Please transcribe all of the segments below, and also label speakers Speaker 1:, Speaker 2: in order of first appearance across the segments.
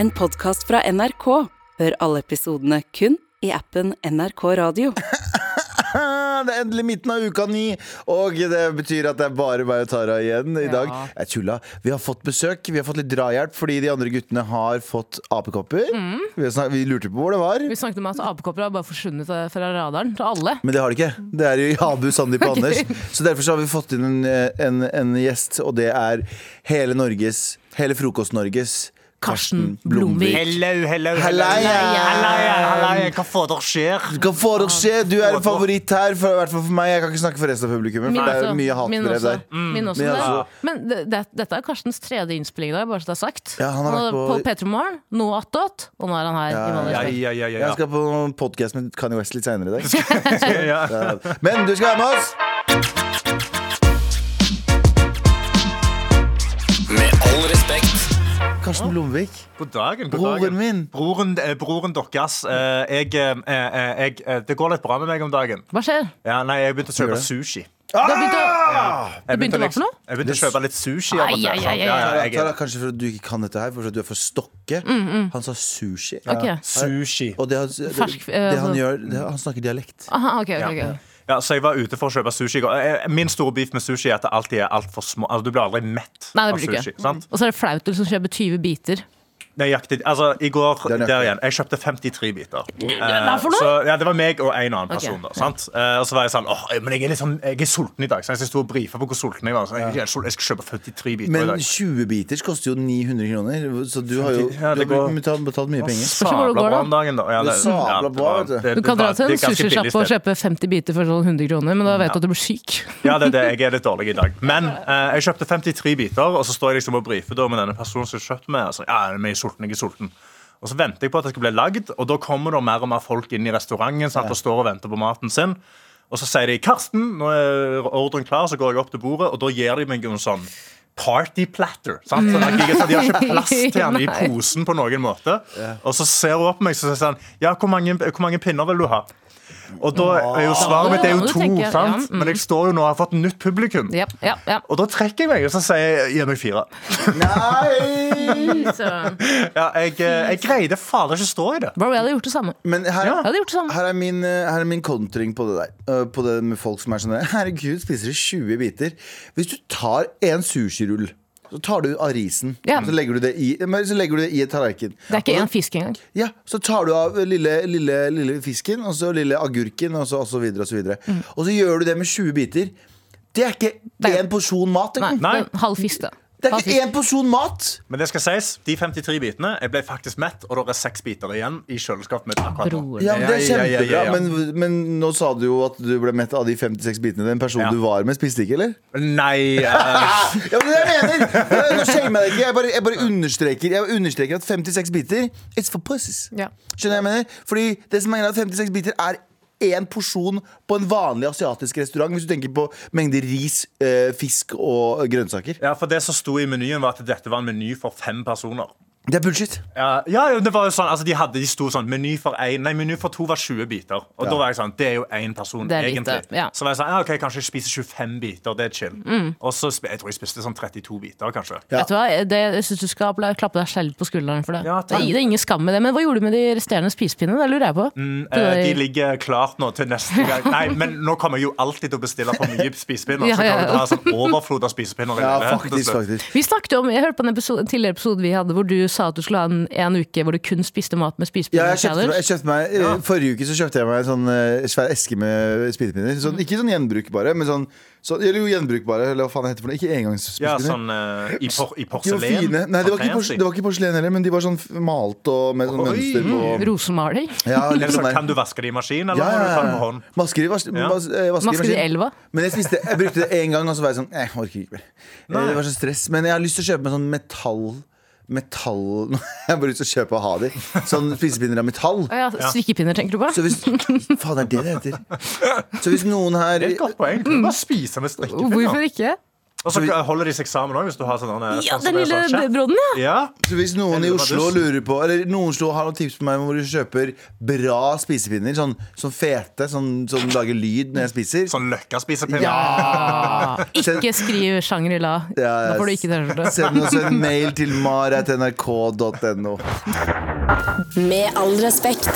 Speaker 1: En podkast fra NRK. Hør alle episodene kun i appen NRK Radio.
Speaker 2: Ah, Det er endelig midten av uka ni, og det betyr at det er bare meg og Tara igjen i
Speaker 3: Ja.
Speaker 2: dag. Jeg tulla. Vi har fått besøk, vi har fått litt drahjelp fordi de andre guttene har fått apekopper. Vi, har snak- vi lurte på hvor det var,
Speaker 3: Mm. Vi snakket om at apekopper har bare forsvunnet eh, fra radaren til alle.
Speaker 2: men det har de ikke. Det er jo Abu, Sandeep og Anders. Så derfor så har vi fått inn en, eh, en, en gjest, og det er hele Norges, hele Frokost-Norges
Speaker 3: Karsten Blomvik.
Speaker 4: Hello, hello,
Speaker 2: Halleia.
Speaker 4: Halleia, halleia. Hva får dere skjer?
Speaker 2: Hva får dere se? Du er en favoritt her, for, i hvert fall for meg. Jeg kan ikke snakke for resten av publikummet, for det er
Speaker 3: også.
Speaker 2: jo mye
Speaker 3: Min
Speaker 2: hatbrev
Speaker 3: også. Mm.
Speaker 2: der.
Speaker 3: Min også.
Speaker 2: Min
Speaker 3: det.
Speaker 2: også.
Speaker 3: Men det, det, dette er Karstens tredje innspilling i dag, bare så det er sagt.
Speaker 2: Ja, han har vært
Speaker 3: på,
Speaker 2: på-
Speaker 3: P3 Morgen, nå attåt, og nå er han her. i
Speaker 2: ja,
Speaker 4: Ja,
Speaker 3: vanlig stil.
Speaker 4: ja, ja, ja,
Speaker 2: Jeg
Speaker 4: ja.
Speaker 2: skal på podkast med Kanye West litt seinere i dag.
Speaker 4: ja.
Speaker 2: Men du skal være med oss!
Speaker 5: Med all respekt.
Speaker 2: Karsten Blomvik.
Speaker 4: God dagen, god
Speaker 2: Broren
Speaker 4: dagen.
Speaker 2: min.
Speaker 4: Broren, eh, broren deres. Eh, jeg, eh, eh, jeg, eh, det går litt bra med meg om dagen.
Speaker 3: Hva skjer?
Speaker 4: Ja, nei, jeg begynte å
Speaker 2: Gjør
Speaker 4: kjøpe
Speaker 2: det?
Speaker 4: sushi.
Speaker 3: Du har begynt å...
Speaker 4: Ah! Jeg
Speaker 3: begynte hva for noe?
Speaker 4: Jeg begynte å kjøpe litt sushi.
Speaker 3: Ai,
Speaker 4: av og
Speaker 3: ai,
Speaker 4: til,
Speaker 3: ai,
Speaker 4: sant?
Speaker 3: ai,
Speaker 4: Ja, ja,
Speaker 2: Tara,
Speaker 4: jeg er-
Speaker 2: kanskje for at du ikke kan dette her, for at du er fra Stokke. Han sa sushi.
Speaker 3: Mm, Ok.
Speaker 4: Sushi.
Speaker 2: Og det, han- det,
Speaker 3: Fersk, eh,
Speaker 2: det han
Speaker 3: altså-
Speaker 2: gjør, det, han snakker dialekt.
Speaker 3: Aha, ok, ok,
Speaker 4: Ja.
Speaker 3: ok.
Speaker 4: Ja, så jeg var ute for å kjøpe sushi. i går. Eh, Min store beef med sushi er at det alltid er altfor små. Altså, du blir aldri mett
Speaker 3: Nei, det
Speaker 4: av
Speaker 3: blir du
Speaker 4: sushi.
Speaker 3: ikke. Mm.
Speaker 4: Sant?
Speaker 3: Og så er det flaut, du som kjøper 20 biter.
Speaker 4: Nøyaktig. Altså, i går,
Speaker 2: er nøyaktig.
Speaker 4: der igjen, jeg kjøpte 53 biter. Eh,
Speaker 3: hva for noe?
Speaker 4: så, ja, det var meg og en annen person.
Speaker 3: Ok.
Speaker 4: Da, sant? Eh, og så var jeg sånn åh, men jeg er, litt sånn- jeg er sulten i dag. Så jeg sto og brifa på hvor sulten jeg var. Så jeg, jeg, jeg skal kjøpe 53 biter i
Speaker 2: Men
Speaker 4: dag.
Speaker 2: 20 biters koster jo 900 kroner, så du har jo du
Speaker 4: Ja,
Speaker 2: har
Speaker 4: det går-
Speaker 2: betalt, betalt mye penger.
Speaker 3: ikke hvor det går,
Speaker 4: Sabla
Speaker 3: da.
Speaker 4: bra om dagen, da. Ja,
Speaker 2: Det er sabla
Speaker 4: det
Speaker 2: bra,
Speaker 4: var-
Speaker 2: vet du.
Speaker 4: det-
Speaker 3: Du
Speaker 4: det
Speaker 3: kan dra
Speaker 4: var-
Speaker 3: til en
Speaker 4: det er ganske billig
Speaker 3: sushisjappe og
Speaker 4: sted.
Speaker 3: kjøpe 50 biter for sånn 100 kroner, men da vet du at du blir syk.
Speaker 4: Ja, det er det. Jeg er litt dårlig i dag. Men eh, jeg kjøpte 53 biter, og så står jeg liksom og brifer da med denne personen som jeg kjøpte med. Altså, ja, jeg er sulten, jeg er sulten. Og så venter jeg på at det skal bli lagd, og da kommer det mer og mer folk inn i restauranten sant, og står og venter på maten sin. Og så sier de 'Karsten, nå er ordren klar', så går jeg opp til bordet, og da gir de meg en sånn Party platter. Sant? Sånn, at jeg- så de har ikke plass til han i
Speaker 3: Nei.
Speaker 4: posen på noen måte. Og så ser hun opp på meg og sier sånn Ja, hvor mange, hvor mange pinner vil du ha? Og da er jo svaret mitt det er
Speaker 3: Ja,
Speaker 4: jo
Speaker 3: det
Speaker 4: to,
Speaker 3: tenker jeg, ja,
Speaker 4: sant?
Speaker 3: mm.
Speaker 4: Men jeg står jo nå og har fått nytt publikum.
Speaker 3: Ja, ja, ja.
Speaker 4: Og da trekker jeg meg og så sier jeg, gi meg fire. Mm.
Speaker 2: Nei!
Speaker 3: Så-
Speaker 4: Ja, jeg, eh, jeg greide fader ikke å stå i det.
Speaker 3: Bro, jeg hadde gjort det samme.
Speaker 2: Men her,
Speaker 3: Jeg hadde gjort sånn. det samme.
Speaker 2: her, er min, eh, her er min kontring på det der. eh, På det med folk som er sånn der, Herregud, spiser du 20 biter? Hvis du tar en sushirull, så tar du av risen.
Speaker 3: Ja.
Speaker 2: Så, legger du det i, men så legger du det i et tallerken.
Speaker 3: Det er ikke
Speaker 2: Og så-
Speaker 3: én fisk engang.
Speaker 2: Ja, så tar du av lille, lille, lille fisken, og så lille agurken, og så, og så videre og så videre.
Speaker 3: Mm.
Speaker 2: Og så gjør du det med 20 biter. Det er ikke
Speaker 3: Nei.
Speaker 2: én porsjon mat.
Speaker 3: Nei,
Speaker 2: engang.
Speaker 4: Nei.
Speaker 3: men halv fisk, da.
Speaker 2: Det er
Speaker 3: Halv
Speaker 2: ikke
Speaker 3: fisk.
Speaker 2: én porsjon mat!
Speaker 4: Men det skal sies, de 53 bitene Jeg ble faktisk mett, og det er seks biter igjen i kjøleskapet mitt akkurat nå.
Speaker 3: Broren.
Speaker 2: Ja, men Det er
Speaker 4: Ja, ja, ja,
Speaker 2: kjempebra,
Speaker 4: ja, ja.
Speaker 2: Men, men nå sa du jo at du ble mett av de 56 bitene. Den personen
Speaker 4: Ja.
Speaker 2: du var med, spiste ikke, eller?
Speaker 4: Nei eh,
Speaker 2: Ja, men det er det jeg mener! Jeg- Nå shamer jeg deg ikke. Jeg bare, jeg bare understreker Jeg understreker at 56 biter It's for pussies.
Speaker 3: Ja.
Speaker 2: Skjønner jeg hva jeg mener? Fordi det som er greia, er at 56 biter er én porsjon på en vanlig asiatisk restaurant, hvis du tenker på mengder ris, eh, fisk og grønnsaker.
Speaker 4: Ja, for det som sto i menyen, var at dette var en meny for fem personer.
Speaker 2: Det er bullshit.
Speaker 4: Ja, ja, jo, det var jo sånn, altså de, hadde, de sto sånn Meny for én Nei, meny for to var 20 biter. Og da var jeg sånn Det er jo én person,
Speaker 3: Det er lite,
Speaker 4: egentlig.
Speaker 3: ja. Mm.
Speaker 4: Så var jeg sånn ja, OK, kanskje jeg spiser 25 biter. Det er chill. Og så sp- Jeg tror jeg spiste sånn 32 biter, kanskje.
Speaker 2: Ja.
Speaker 3: Vet du hva? Det, jeg syns du skal applaus- klappe deg selv på skulderen for det.
Speaker 4: Ja,
Speaker 3: det,
Speaker 4: takk.
Speaker 3: er, det er ingen skam med det. Men hva gjorde du med de resterende spisepinnene? Det lurer jeg på.
Speaker 2: Mm,
Speaker 3: Til
Speaker 4: Eh, de
Speaker 3: deg-
Speaker 4: ligger klart nå til neste gang. Nei, men nå kommer jeg jo alltid til å bestille for mye spisepinner.
Speaker 3: Ja,
Speaker 4: Så
Speaker 3: ja,
Speaker 4: kommer det til
Speaker 3: ja.
Speaker 4: å være sånn overflod av spisepinner. i
Speaker 2: Ja,
Speaker 4: leiligheten til
Speaker 2: faktisk,
Speaker 4: slutt.
Speaker 2: faktisk.
Speaker 3: vi snakket jo om, Jeg hørte på en, episode, en tidligere episode vi hadde hvor du sa at du skulle ha en, en uke hvor du kun spiste mat
Speaker 2: Ja,
Speaker 3: med spisepinner.
Speaker 2: jeg kjøpte, meg- jeg kjøpte meg, eh, Forrige uke så kjøpte jeg meg en sånn eh, svær eske med spisepinner. Sånn, ikke sånn gjenbrukbare, men sånn, sånn Eller jo, gjenbrukbare, eller hva faen det heter for noe. Ikke
Speaker 4: Ja,
Speaker 2: engangsspisepinner.
Speaker 4: sånn eh, i, por
Speaker 2: De
Speaker 4: i
Speaker 2: var
Speaker 4: porselen.
Speaker 2: fine. Nei, det var,
Speaker 4: Sånn
Speaker 2: ikke pors
Speaker 4: fancy.
Speaker 2: det var ikke porselen heller, men de var sånn f- malt og med sånn
Speaker 4: Oi.
Speaker 2: mønster på
Speaker 3: Rosemaling.
Speaker 2: ja,
Speaker 4: Eller
Speaker 2: litt
Speaker 4: sånn,
Speaker 2: sånn
Speaker 4: Kan
Speaker 2: der.
Speaker 4: du vaske det i maskin, eller
Speaker 2: Ja,
Speaker 4: må du ta
Speaker 2: ja,
Speaker 4: det med
Speaker 2: ja.
Speaker 4: hånd?
Speaker 2: Masker i, vas
Speaker 4: Ja.
Speaker 2: vas eh, vasker i
Speaker 3: Masker i
Speaker 2: maskin.
Speaker 3: elva.
Speaker 2: Men jeg spiste Jeg brukte det én gang, og så var jeg sånn Jeg orker ikke mer. Eh, Det var så stress. Men jeg har lyst til å kjøpe meg sånn metall Metall Jeg har bare lyst til å kjøpe og ha de. Sånn spisepinner av metall.
Speaker 3: Å Ja, strikkepinner, tenker du på?
Speaker 2: Så hvis Faen, det er det det heter. Så hvis noen her
Speaker 4: Det er et godt poeng. Kan du bare spise med
Speaker 3: Hvorfor
Speaker 4: strikkepinner?
Speaker 3: ikke?
Speaker 4: Og så holder de seg sammen òg, hvis du har sånn eh,
Speaker 3: Ja,
Speaker 4: sånn
Speaker 3: den
Speaker 4: som er
Speaker 3: lille
Speaker 4: sånn chat.
Speaker 3: brodden, ja.
Speaker 4: Ja.
Speaker 2: Så hvis noen i
Speaker 4: Eller
Speaker 2: Oslo
Speaker 4: Madus.
Speaker 2: lurer på Eller noen i Oslo har noen tips på meg om hvor du kjøper bra spisepinner, sånn, sånn fete, sånn, som lager lyd når jeg spiser
Speaker 4: Sånn løkkaspiserpinne.
Speaker 2: Ja!
Speaker 3: Ikke skriv sjanger i la.
Speaker 2: Ja,
Speaker 3: Da får du ikke T-skjorte.
Speaker 2: Send oss en mail til mar.nrk.no.
Speaker 6: Med all respekt.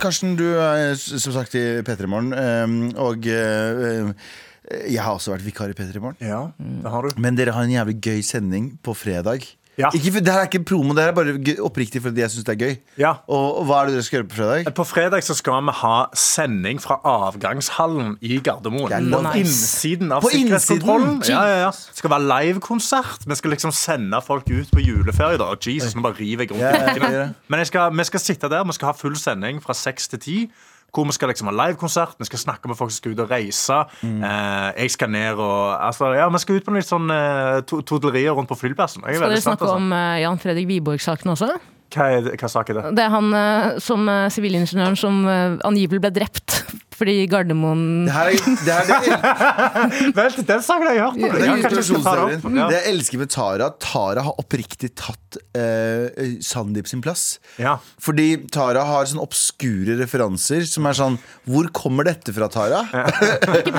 Speaker 2: Karsten, du er eh, s- som sagt i P3 Morgen, ehm, og eh, eh, jeg har også vært vikar i P3 Morgen.
Speaker 4: Ja, det har du.
Speaker 2: Men dere har en jævlig gøy sending på fredag.
Speaker 4: Ja.
Speaker 2: Ikke, for- det her er ikke promo, det her er bare gøy, oppriktig fordi jeg syns det er gøy.
Speaker 4: Ja.
Speaker 2: Og, og hva er det dere skal gjøre på fredag?
Speaker 4: På fredag så skal vi ha sending fra avgangshallen i Gardermoen.
Speaker 2: Det er
Speaker 4: På
Speaker 2: nice.
Speaker 4: innsiden av
Speaker 2: På
Speaker 4: sikkerhetskontrollen.
Speaker 2: innsiden?
Speaker 4: Ja, ja, ja. Det skal være livekonsert. Vi skal liksom sende folk ut på juleferie. Da. Jesus, nå bare river jeg rundt.
Speaker 2: Ja, ja,
Speaker 4: bekkene.
Speaker 2: ja, ja.
Speaker 4: Men jeg skal, vi skal sitte der, vi skal ha full sending fra seks til ti. Hvor vi skal liksom ha livekonsert, vi skal snakke med folk som skal ut og reise.
Speaker 2: Mm.
Speaker 4: Eh, jeg skal ned og altså, Ja, vi skal ut på litt sånn eh, to- todlerier rundt på flyplassen. Jeg er
Speaker 3: Skal
Speaker 4: veldig
Speaker 3: dere
Speaker 4: spent,
Speaker 3: snakke
Speaker 4: altså.
Speaker 3: om eh, Jan Fredrik Wiborg-saken også?
Speaker 4: Hva, er, hva sak er det?
Speaker 3: Det er han eh, som eh, sivilingeniøren som eh, angivelig ble drept fordi Gardermoen
Speaker 2: Det her er, det her er det
Speaker 4: Vent, den saken har jeg hørt om.
Speaker 2: Det
Speaker 4: Ja,
Speaker 2: er
Speaker 4: kanskje vi skal ta det opp?
Speaker 2: konspirasjonsteorien.
Speaker 4: Ja.
Speaker 2: Det jeg elsker med Tara Tara har oppriktig tatt eh, Sandeep sin plass.
Speaker 4: Ja.
Speaker 2: Fordi Tara har sånne obskure referanser som er sånn Hvor kommer dette fra, Tara?
Speaker 3: Ikke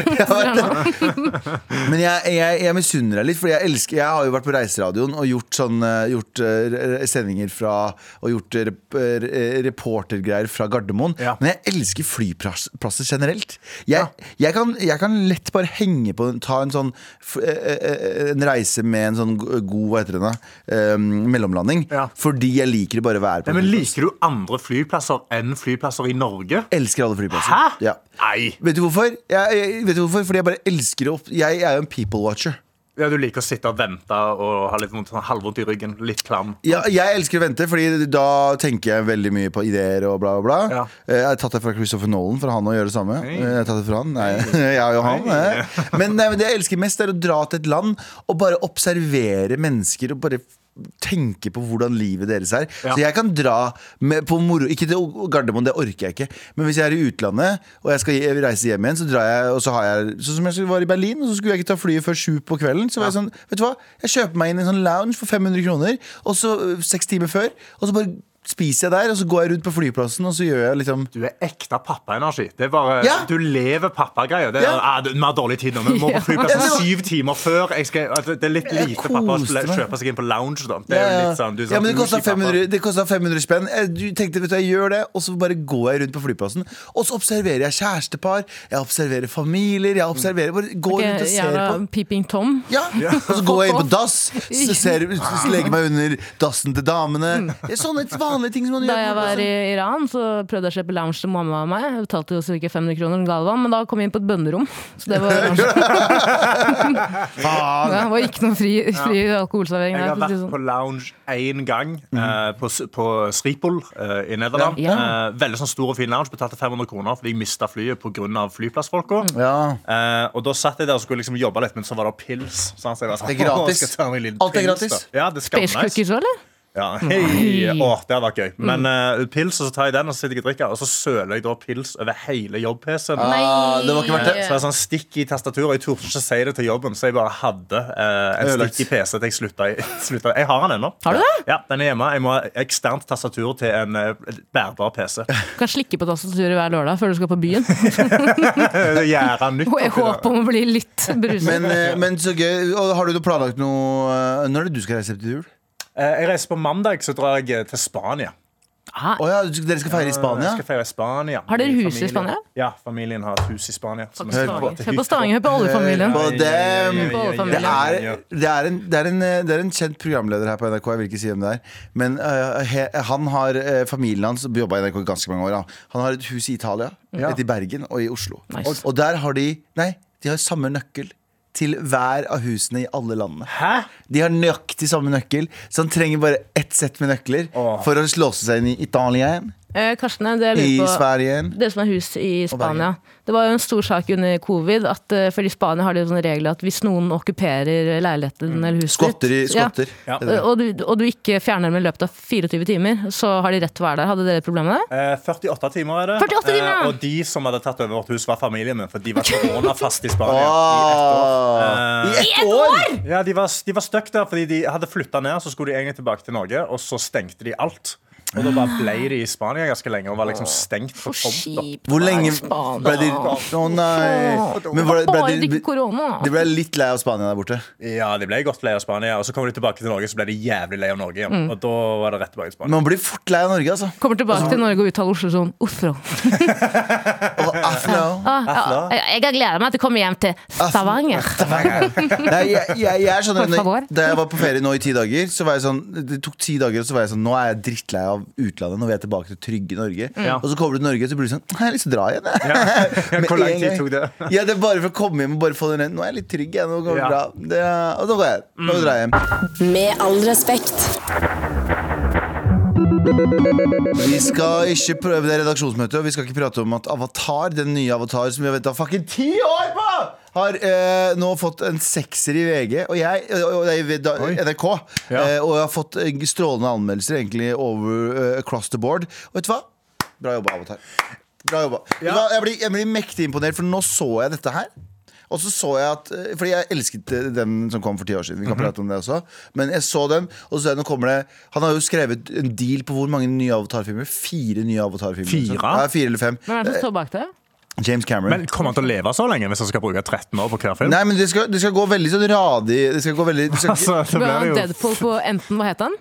Speaker 3: PD.
Speaker 2: Men jeg, jeg, jeg misunner deg litt, for jeg elsker Jeg har jo vært på Reiseradioen og gjort, sånn, eh, gjort eh, sendinger fra Og gjort eh, rep, eh, reportergreier fra Gardermoen.
Speaker 4: Ja.
Speaker 2: Men jeg elsker flyplasser generelt. Jeg, jeg, kan, jeg kan lett bare henge på Ta en sånn f- eh, eh, En reise med en sånn go- god Hva heter det da? Eh, mellomlanding.
Speaker 4: Ja.
Speaker 2: Fordi jeg liker å bare være på
Speaker 4: Nei, men
Speaker 2: flyplass.
Speaker 4: Liker du andre flyplasser enn flyplasser i Norge?
Speaker 2: Elsker alle flyplasser.
Speaker 4: Hæ?
Speaker 2: Ja.
Speaker 4: Nei!
Speaker 2: Vet du hvorfor? Jeg, jeg, vet du hvorfor? Fordi jeg bare elsker å opp... Jeg er jo en people watcher.
Speaker 4: Ja, Du liker å sitte og vente og ha litt vondt, sånn halvvondt i ryggen. Litt klam.
Speaker 2: Ja, jeg elsker å vente, Fordi da tenker jeg veldig mye på ideer og bla, bla, bla.
Speaker 4: Ja.
Speaker 2: Eh, Jeg har tatt det fra Christopher Nolan for han å gjøre det samme.
Speaker 4: Hei.
Speaker 2: Eh, Jeg har tatt det fra han, nei, jeg og han eh. men, nei, men det jeg elsker mest, er å dra til et land og bare observere mennesker. Og bare tenke på hvordan livet deres er. Så
Speaker 4: Ja.
Speaker 2: jeg kan dra med, på moro Ikke til Gardermoen, det orker jeg ikke. Men hvis jeg er i utlandet og jeg skal je- reise hjem igjen, så drar jeg og så har jeg Sånn som jeg var i Berlin, og så skulle jeg ikke ta flyet før sju på kvelden. Så var jeg sånn, vet du hva, jeg kjøper meg inn i en sånn lounge for 500 kroner, og så øh, seks timer før, og så bare spiser jeg der, og så går jeg rundt på flyplassen, og så gjør jeg liksom
Speaker 4: Du er ekte pappaenergi. Det er bare,
Speaker 2: Ja.
Speaker 4: Du lever pappagreier. Det er,
Speaker 2: Ja.
Speaker 4: ah, det- Vi har dårlig tid nå. Vi må på
Speaker 2: Ja, det
Speaker 4: flyplassen
Speaker 2: var-
Speaker 4: syv timer før. Jeg skal, altså, det er litt
Speaker 2: Jeg
Speaker 4: lite pappa å
Speaker 2: koste meg.
Speaker 4: kjøpe seg inn på lounge. Da. Det er
Speaker 2: Ja,
Speaker 4: jo
Speaker 2: ja.
Speaker 4: litt sånn, du, er
Speaker 2: ja,
Speaker 4: sånn
Speaker 2: men det kosta
Speaker 4: bougie pappa.
Speaker 2: 500, det kostet 500 spenn. Jeg du tenkte vet du, jeg gjør det, og så bare går jeg rundt på flyplassen. Og så observerer jeg kjærestepar, jeg observerer familier. Jeg observerer, bare går rundt og ser
Speaker 3: Jævla
Speaker 2: på.
Speaker 3: eh, Peeping Tom.
Speaker 2: Ja, Og så går jeg inn på dass, så ser, så legger meg under dassen til damene. Det er Sånne vanlige ting som man
Speaker 3: Mm. Da
Speaker 2: gjør.
Speaker 3: jeg var i Iran, så prøvde jeg å kjøpe lounge til mamma og meg. Jeg betalte jo ca. 500 kroner, en gave, men da kom jeg inn på et bønnerom. Så det var, det
Speaker 2: Faen.
Speaker 3: var ikke noen fri, fri alkoholservering
Speaker 4: Jeg
Speaker 3: der.
Speaker 4: har
Speaker 3: for å si
Speaker 4: vært
Speaker 3: det
Speaker 4: på
Speaker 3: sånn.
Speaker 4: lounge én gang,
Speaker 2: Mm.
Speaker 4: eh, på, S- på Sripol eh, i Nederland.
Speaker 3: Ja. Ja.
Speaker 4: Eh, veldig sånn stor og fin lounge. Betalte 500 kroner fordi jeg mista flyet pga. flyplassfolka.
Speaker 2: Ja.
Speaker 4: Eh, og da satt jeg der og skulle liksom jobbe litt, men så var det pils. sant? Så jeg var sånn,
Speaker 2: Det er gratis.
Speaker 4: «Åh, skal jeg ta meg en liten
Speaker 2: Alt er
Speaker 4: pils,
Speaker 2: gratis.
Speaker 4: da?» Ja, det skal
Speaker 3: Space
Speaker 4: være nice.
Speaker 3: Cookies Mm. òg, eller?
Speaker 4: Ja, hei. Åh, det hadde vært gøy. Men
Speaker 3: Mm.
Speaker 4: eh, pils, og så tar jeg den, og så sitter jeg og drikker, og så søler jeg da pils over hele jobb-PC-en.
Speaker 2: Ah, det var ikke verdt
Speaker 4: Så
Speaker 2: det.
Speaker 4: det er sånn stikk i tastaturet. Jeg torde ikke si det til jobben, så jeg bare hadde eh, en
Speaker 2: Ødelagt.
Speaker 4: stikk i PC til jeg slutta. i- slutta. Jeg har den ennå.
Speaker 3: Har du det?
Speaker 4: Ja, den er hjemme. Jeg må ha eksternt tastatur til en eh, bærbar PC.
Speaker 3: Du kan slikke på tastaturet hver lørdag før du skal på byen.
Speaker 4: Gjære nytt.
Speaker 3: Og jeg
Speaker 4: oppi det.
Speaker 3: håper om å bli litt
Speaker 2: Men,
Speaker 3: bruset.
Speaker 2: eh, men så gøy. Og har du noe planlagt noe eh, Når er det du skal reise til jul?
Speaker 4: Eh, Jeg reiser på mandag, så drar jeg eh, til Spania.
Speaker 3: Ah,
Speaker 2: Å ja, dere skal feire i Spania?
Speaker 4: Eh, Jeg skal feire i Spania.
Speaker 3: Har dere
Speaker 4: Med
Speaker 3: hus i
Speaker 4: familien.
Speaker 3: Spania?
Speaker 4: Ja, familien har et hus i Spania. som vi
Speaker 3: Hør
Speaker 4: skal
Speaker 3: på-
Speaker 4: dra til
Speaker 3: hør på Stavanger, hør på oljefamilien.
Speaker 2: På dem.
Speaker 4: Ja, ja, ja, ja, ja, ja,
Speaker 2: Det
Speaker 4: ja,
Speaker 2: er,
Speaker 4: ja, ja.
Speaker 2: det, er en, det, er en, eh, det er en kjent programleder her på NRK, jeg vil ikke si hvem det er. Men eh, he, han har eh, familien hans jobba i NRK i ganske mange år. Han. han har et hus i Italia,
Speaker 4: Ja.
Speaker 2: et i Bergen og i Oslo.
Speaker 3: Nice.
Speaker 2: Og, og der har de Nei, de har samme nøkkel til hver av husene i alle landene.
Speaker 4: Hæ?
Speaker 2: De har nøyaktig samme nøkkel, så han trenger bare ett sett med nøkler
Speaker 4: Åh.
Speaker 2: for å slåse seg inn i Italia.
Speaker 3: Eh, Karsten, det jeg
Speaker 2: I
Speaker 3: lurer på
Speaker 2: Sverige.
Speaker 3: Dere som har hus i
Speaker 2: Og
Speaker 3: Spania. Det var jo en stor sak under covid, at, eh, for i Spania har de jo sånne regler at hvis noen okkuperer leiligheten eller huset
Speaker 2: Mm. Skotter i
Speaker 3: ditt-
Speaker 2: skotter.
Speaker 4: Ja.
Speaker 2: Det er det.
Speaker 3: Og du, og du ikke fjerner dem i løpet av 24 timer, så har de rett til å være der. Hadde dere et problem med det?
Speaker 4: Eh, 48 timer er det.
Speaker 3: 48 timer!
Speaker 4: Eh, og de som hadde tatt over vårt hus, var familien min. For de var koronafast i Spania.
Speaker 2: Åh, Ah. I
Speaker 4: I ett år.
Speaker 2: ett år!
Speaker 4: Eh, ja, de var, de var stuck der fordi de hadde flytta ned, så skulle de egentlig tilbake til Norge, og så stengte de alt. Og da bare ble de i Spania ganske lenge og var liksom stengt for tomter.
Speaker 3: Kjipt.
Speaker 2: Hvor lenge
Speaker 3: Spania.
Speaker 2: ble de Å nei! Men var det-
Speaker 3: Bare
Speaker 2: ble
Speaker 3: det
Speaker 2: de,
Speaker 3: ikke korona.
Speaker 2: de ble litt lei av Spania der borte.
Speaker 4: Ja, de ble godt lei av Spania, og så kom de tilbake til Norge, så ble de jævlig lei av Norge igjen.
Speaker 3: Mm.
Speaker 4: Og da var det rett tilbake til Spania.
Speaker 2: Man blir fort lei av Norge, altså.
Speaker 3: Kommer tilbake til Norge og uttaler Oslo sånn Oslo.
Speaker 2: Og Afro.
Speaker 3: Ah,
Speaker 4: Afla.
Speaker 3: ja, jeg har gleda meg til å komme hjem til Stavanger.
Speaker 2: Nei, jeg, jeg, jeg skjønner
Speaker 3: For favor.
Speaker 2: når, Da jeg var på ferie nå i ti dager, så var jeg sånn Det tok ti dager, og så var jeg sånn Nå er jeg drittlei av utlandet. Nå vil jeg tilbake til trygge Norge.
Speaker 3: Mm.
Speaker 4: Ja.
Speaker 2: Og så kommer du til Norge, så blir du sånn Jeg har lyst til å dra igjen, jeg. Med
Speaker 4: Hvor lang
Speaker 2: en
Speaker 4: tid
Speaker 2: gang.
Speaker 4: tok det?
Speaker 2: Ja, det er bare for å komme hjem og bare få den rent. Nå er jeg litt trygg, jeg. Nå går det
Speaker 4: Ja.
Speaker 2: bra. Det er, og så går jeg. Nå drar jeg hjem.
Speaker 6: Med all respekt.
Speaker 2: Vi skal ikke prøve det er redaksjonsmøtet, og vi skal ikke prate om at Avatar, den nye Avatar som vi har venta fucking ti år på, har eh, nå fått en sekser i VG, og jeg, og, og, nei, da- NRK,
Speaker 4: Ja.
Speaker 2: eh, og jeg har fått eh, strålende anmeldelser egentlig over eh, across the board. Og vet du hva? Bra jobba, Avatar. Bra jobba. Vet du
Speaker 4: Ja.
Speaker 2: hva? Jeg, blir, jeg blir mektig imponert, for nå så jeg dette her. Og så så jeg at eh, Fordi jeg elsket eh, den som kom for ti år siden. Vi
Speaker 4: Mhm.
Speaker 2: kan prate om det også Men jeg så den, og så så jeg nå kommer det Han har jo skrevet en deal på hvor mange nye Avatar-filmer? Fire nye Avatar-filmer.
Speaker 4: Fire?
Speaker 2: Så- Ja, fire eller fem.
Speaker 3: Hvem er det som står bak det?
Speaker 2: James Cameron.
Speaker 4: Men kommer han til å leve så lenge hvis han skal bruke 13 år på hver film?
Speaker 2: Nei, men det skal, det skal gå veldig sånn radig Det skal gå veldig det skal,
Speaker 4: Altså, det
Speaker 3: Bra,
Speaker 4: blir jo
Speaker 3: Deadpool på enten Hva het han?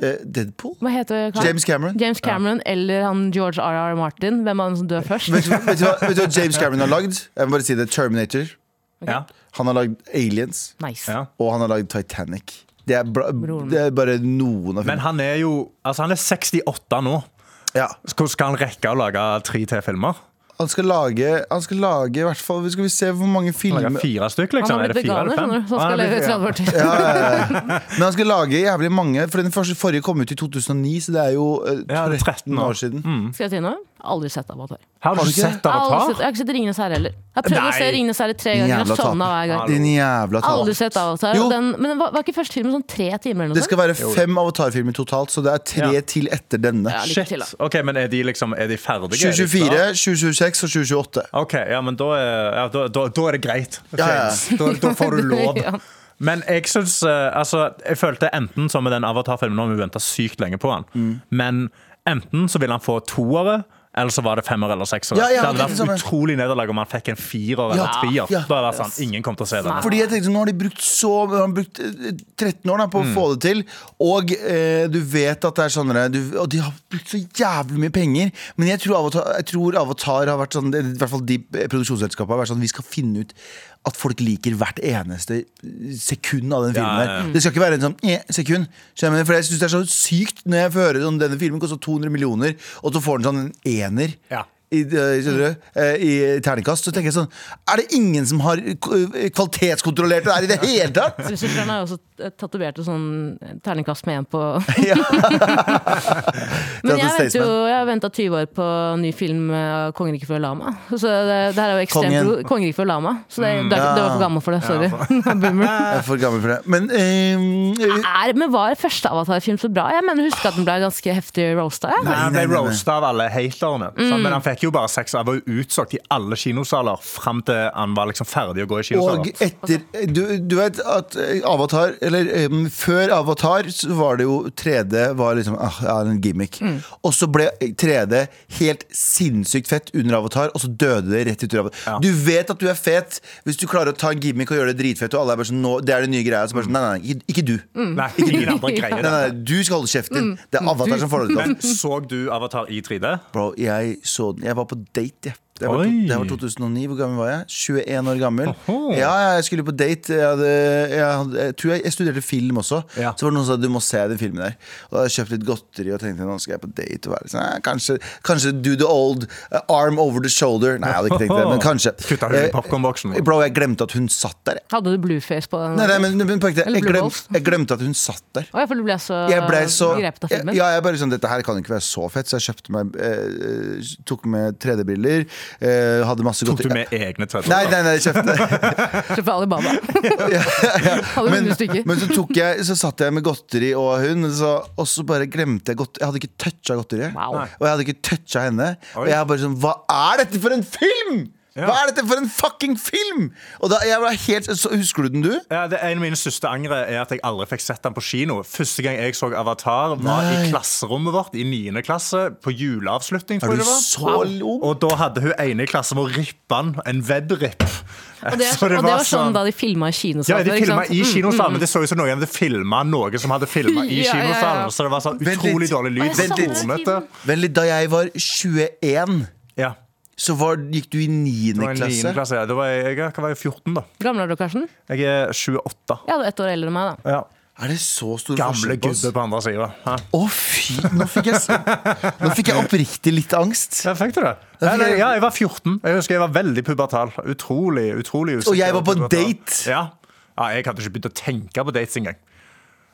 Speaker 2: eh, Deadpool?
Speaker 3: Hva heter han?
Speaker 2: James Cameron.
Speaker 3: James Cameron eller han George R.R. Martin. Hvem er han som dør først?
Speaker 2: Vet du, vet, du hva, vet du hva James Cameron har lagd? Jeg må bare si det. Terminator.
Speaker 4: ja.
Speaker 2: Han har lagd Aliens.
Speaker 3: Nice.
Speaker 4: Ja.
Speaker 2: Og han har lagd Titanic. Det er, bra,
Speaker 3: Broren.
Speaker 2: det er bare noen av
Speaker 4: Men
Speaker 2: filmene.
Speaker 4: han er jo altså han er 68 nå.
Speaker 2: Ja.
Speaker 4: Så Hvordan skal han rekke å lage tre til filmer?
Speaker 2: Han skal lage, han skal lage i hvert fall, Skal vi se hvor mange
Speaker 4: Han
Speaker 2: filmer
Speaker 4: lager fire stykk, liksom.
Speaker 3: Han har
Speaker 4: Er det
Speaker 3: blitt
Speaker 4: fire
Speaker 3: veganer,
Speaker 4: eller fem?
Speaker 3: skjønner du. Så han skal
Speaker 4: Ah, det
Speaker 3: leve i 30 år til.
Speaker 4: blir fire.
Speaker 2: ja, ja, ja. Men han skal lage jævlig mange, for den første, forrige kom ut i 2009, så det er jo eh,
Speaker 4: Ja, det
Speaker 2: 13
Speaker 4: er år. Mm.
Speaker 2: år siden.
Speaker 3: Skal jeg si noe? Aldri sett Avatar.
Speaker 4: Har du
Speaker 2: ikke?
Speaker 4: sett
Speaker 3: Aldri sett,
Speaker 4: Avatar?
Speaker 3: jeg har ikke sett Ringenes herre heller. Jeg har prøvd å
Speaker 4: Nei.
Speaker 3: se Ringenes herre tre
Speaker 2: Din
Speaker 3: ganger.
Speaker 2: jævla
Speaker 3: Jeg sovna hver gang.
Speaker 2: taper. Din jævla
Speaker 3: Aldri
Speaker 2: taper.
Speaker 3: sett Avatar.
Speaker 2: Jo.
Speaker 3: og Den, men var, var ikke første filmen sånn tre timer eller
Speaker 2: Det
Speaker 3: noe
Speaker 2: skal
Speaker 3: sånt?
Speaker 2: være fem avatarfilmer totalt, så det er tre
Speaker 4: Ja.
Speaker 2: til etter denne.
Speaker 3: Ja, lykke
Speaker 4: Shit.
Speaker 3: til, da.
Speaker 4: Ok, Men er de liksom, er de ferdige? Er de
Speaker 2: 2024,
Speaker 4: klare?
Speaker 2: 2026 og 2028.
Speaker 4: Ok, ja, men da er, ja, da, da, da er det greit.
Speaker 2: Ja, ja.
Speaker 4: James. Da, da får du lov.
Speaker 3: Ja.
Speaker 4: Men jeg syns eh, altså, Jeg følte enten som med den Avatar-filmen Nå har vi venta sykt lenge på han
Speaker 2: Mm.
Speaker 4: Men enten så ville han få toere, eller så var det femmer eller seksere.
Speaker 2: Ja, ja,
Speaker 4: det hadde
Speaker 2: det er det samme.
Speaker 4: vært utrolig nederlag om han fikk en firer eller
Speaker 2: Ja,
Speaker 4: trier.
Speaker 2: ja.
Speaker 4: Da hadde det vært sånn, ingen kom til å se den.
Speaker 2: Fordi jeg tenkte, Nå har de brukt så Nå har de brukt eh, 13 år da,
Speaker 4: Mm.
Speaker 2: på å få det til. Og eh, du vet at det er sånne du, Og de har brukt så jævlig mye penger. Men jeg tror Avatar, jeg tror Avatar har vært sånn I hvert fall de produksjonsselskapene har vært sånn Vi skal finne ut at folk liker hvert eneste sekund av den filmen.
Speaker 4: Ja,
Speaker 2: her
Speaker 4: ja, ja.
Speaker 2: Det skal ikke være en sånn eh, sekund. Skjønner du? For jeg synes det er så sykt når jeg får høre sånn denne filmen koster 200 millioner, og så får den sånn en ener.
Speaker 4: Ja.
Speaker 2: I, eh, skjønner du, eh, I terningkast. Så tenker jeg sånn Er det ingen som har k- eh, kvalitetskontrollert det her i det hele tatt?!
Speaker 3: Lillesøsteren har jo også eh, tatovert en sånn eh, terningkast med en på
Speaker 2: Ja.
Speaker 3: Men jeg
Speaker 2: altså Statement.
Speaker 3: venter jo Jeg har venta 20 år på ny film eh, av 'Kongeriket før lama'. Så det, det her er jo ekstremt
Speaker 2: Kongen. Mm.
Speaker 3: pro- 'Kongeriket før lama'. Så det, det, er ikke- det var for gammel for det. Sorry. Boomer.
Speaker 2: Jeg er for gammel for det. Men eh, eh,
Speaker 3: Er, men var første Avatar-film så bra? Jeg mener, husker at den ble ganske heftig roasta. jeg.
Speaker 4: Nei, Han ble
Speaker 2: nei, nei, nei. Mm.
Speaker 4: roasta av alle haterne. sant? Men han fikk jo bare seks. Han var jo utsolgt i alle kinosaler fram til han var liksom ferdig å gå i
Speaker 2: og
Speaker 4: kinosaler.
Speaker 2: etter du, du vet at eh, Avatar Eller eh, før Avatar så var det jo 3D var liksom ah, ja, en gimmick. Og så ble 3D helt sinnssykt fett under Avatar, og så døde det rett etter Avatar.
Speaker 4: Ja.
Speaker 2: Du vet at du er fet hvis du klarer å ta en gimmick og gjøre det dritfett, og alle er bare sånn nå, Det er den nye greia. Så bare sånn, nei, nei, nei, ikke, ikke du.
Speaker 4: Nei, ingen andre greier
Speaker 2: Nei,
Speaker 4: det.
Speaker 2: nei, nei, du skal holde kjeften din. Det er Avatar som får deg til å
Speaker 4: Men så du Avatar i 3D?
Speaker 2: Bro, jeg så den. Jeg var på date, jeg. Det var,
Speaker 4: Oi.
Speaker 2: det var 2009. Hvor gammel var jeg? 21 år gammel.
Speaker 4: Oho.
Speaker 2: Ja, jeg skulle på date. Jeg, hadde, jeg, hadde, jeg tror jeg, jeg studerte film også.
Speaker 4: Ja.
Speaker 2: Så var det noen som sa du må se den filmen der. Og da hadde jeg kjøpt litt godteri og tenkte nå skal jeg på date. Og være sånn, eh, kanskje, kanskje do the old eh, arm over the shoulder. Nei, jeg hadde ikke tenkt det, men kanskje.
Speaker 4: Kutta hull i
Speaker 2: Eh,
Speaker 4: popcornboksen.
Speaker 2: Bro, jeg glemte at hun satt der. jeg.
Speaker 3: Hadde du blueface på den?
Speaker 2: Nei, nei, men, men på ekte,
Speaker 3: Eller
Speaker 2: jeg,
Speaker 3: blue
Speaker 2: glem,
Speaker 3: balls.
Speaker 2: jeg glemte at hun satt der.
Speaker 3: Å, jeg føler du ble så,
Speaker 2: Jeg ble så
Speaker 3: Eh, grepet av filmen.
Speaker 2: Ja, jeg bare sånn, dette her kan ikke være så fett, så jeg kjøpte meg eh, Tok med 3D-briller. Eh, hadde masse
Speaker 4: Tok
Speaker 2: godt
Speaker 4: du med egne tredje?
Speaker 2: Nei, nei, nei, jeg kjøpte
Speaker 3: Kjøpt fra Alibaba. Hadde
Speaker 2: men,
Speaker 3: hundre stykker.
Speaker 2: men så tok jeg Så satt jeg med godteri og hun, og så, og så bare glemte jeg godteri. Jeg hadde ikke toucha godteriet.
Speaker 3: Wow. Nei.
Speaker 2: Og jeg hadde ikke toucha henne.
Speaker 4: Oi.
Speaker 2: Og jeg bare sånn Hva er dette for en film?!
Speaker 4: Ja.
Speaker 2: Hva er dette for en fucking film?! Og da, jeg var helt så, Husker du den, du?
Speaker 4: Ja, det En av mine største angre er at jeg aldri fikk sett den på kino. Første gang jeg så Avatar, var
Speaker 2: Nei.
Speaker 4: i klasserommet vårt i 9. klasse. På juleavslutning,
Speaker 2: Er
Speaker 4: tror
Speaker 2: du
Speaker 4: jeg det var.
Speaker 2: så ung?
Speaker 4: Og da hadde hun ene i klassen vår rippa den. En webripp.
Speaker 3: Og det, er, og
Speaker 4: Så
Speaker 3: det var
Speaker 4: sånn-
Speaker 3: sånn da de filma i
Speaker 4: Ja,
Speaker 3: kinosalen.
Speaker 4: de filma i kinosalen, men det så ut som noen hadde filma noe som hadde filma
Speaker 3: Mm, Ja, ja,
Speaker 4: i
Speaker 3: ja.
Speaker 4: kinosalen. Så det var sånn
Speaker 2: Vent
Speaker 4: utrolig
Speaker 2: litt.
Speaker 4: dårlig lyd.
Speaker 2: Vent litt.
Speaker 4: Hornete.
Speaker 2: Vel, da jeg var 21,
Speaker 4: Ja.
Speaker 2: så var, gikk du i 9.
Speaker 4: Det var en
Speaker 2: klasse.
Speaker 4: 9. klasse. Ja. Da var jeg, jeg hva var jeg 14, da.
Speaker 3: Gamle er du, Karsten?
Speaker 4: Jeg er 28.
Speaker 3: Ja, du er ett år eldre enn meg, da.
Speaker 4: Ja.
Speaker 2: Er det så stor
Speaker 4: Gamle
Speaker 2: forskjell på oss?
Speaker 4: gubbe på andre sida.
Speaker 2: Å, fy! Nå fikk jeg, s- nå fikk jeg oppriktig litt angst.
Speaker 4: Ja, fikk du det?
Speaker 2: Da fikk
Speaker 4: Eller,
Speaker 2: jeg-
Speaker 4: ja, jeg var 14. Jeg husker jeg var veldig pubertal. Utrolig utrolig usikker.
Speaker 2: Og jeg var på
Speaker 4: pubertal.
Speaker 2: date!
Speaker 4: Ja. ja, Jeg hadde ikke begynt å tenke på dates engang.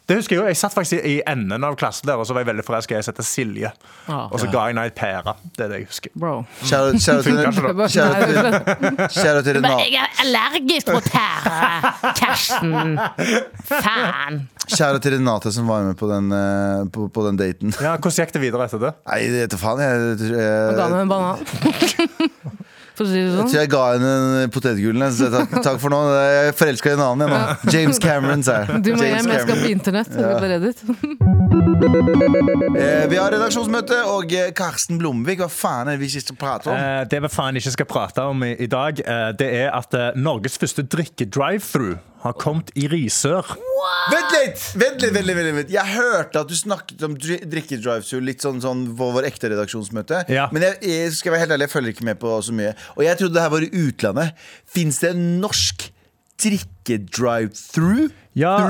Speaker 4: Det husker Jeg jo, jeg satt faktisk i enden av klassen der, og så var jeg veldig forelska i ei som heter Silje.
Speaker 3: Ah.
Speaker 4: Og så ga jeg henne ei pære. Det er det jeg husker.
Speaker 3: Bro.
Speaker 2: Shout out- shout out til-
Speaker 4: Funker ikke
Speaker 3: det. sånn.
Speaker 2: shout out til- shout out til Renate.
Speaker 3: er allergisk mot pære! Karsten! Faen!
Speaker 2: Kjære til Renate som var med på den, eh, på, på den daten.
Speaker 4: Ja, Hvordan gikk det videre etter det?
Speaker 2: Nei, jeg vet da faen. Jeg, tror-
Speaker 3: Ga
Speaker 2: jeg,
Speaker 3: meg en banan. For å si det
Speaker 2: jeg
Speaker 3: sånn.
Speaker 2: tror jeg ga henne en potetgull. jeg. Så Takk, takk for nå. Jeg er forelska i en annen. Jeg, nå. James Cameron, sa jeg.
Speaker 3: Du må
Speaker 2: James
Speaker 3: hjem, jeg skal
Speaker 2: Cameron.
Speaker 3: på internett. Jeg blir beredet.
Speaker 2: Eh, Vi har redaksjonsmøte, og eh, Karsten Blomvik, hva faen er det vi sist pratet om?
Speaker 4: Eh, det vi faen ikke skal prate om i, i dag, eh, det er at eh, Norges første drikke-drive-through har kommet i Risør.
Speaker 2: Vent litt! Vent litt, vent litt, vent litt. Jeg hørte at du snakket om dri- drikke-drive-through litt sånn, sånn på vår ekte redaksjonsmøte.
Speaker 4: Ja.
Speaker 2: Men jeg, jeg skal være helt ærlig, jeg følger ikke med på så mye. Og jeg trodde det her var i utlandet. Fins det en norsk drikke-drive-through?
Speaker 4: Ja,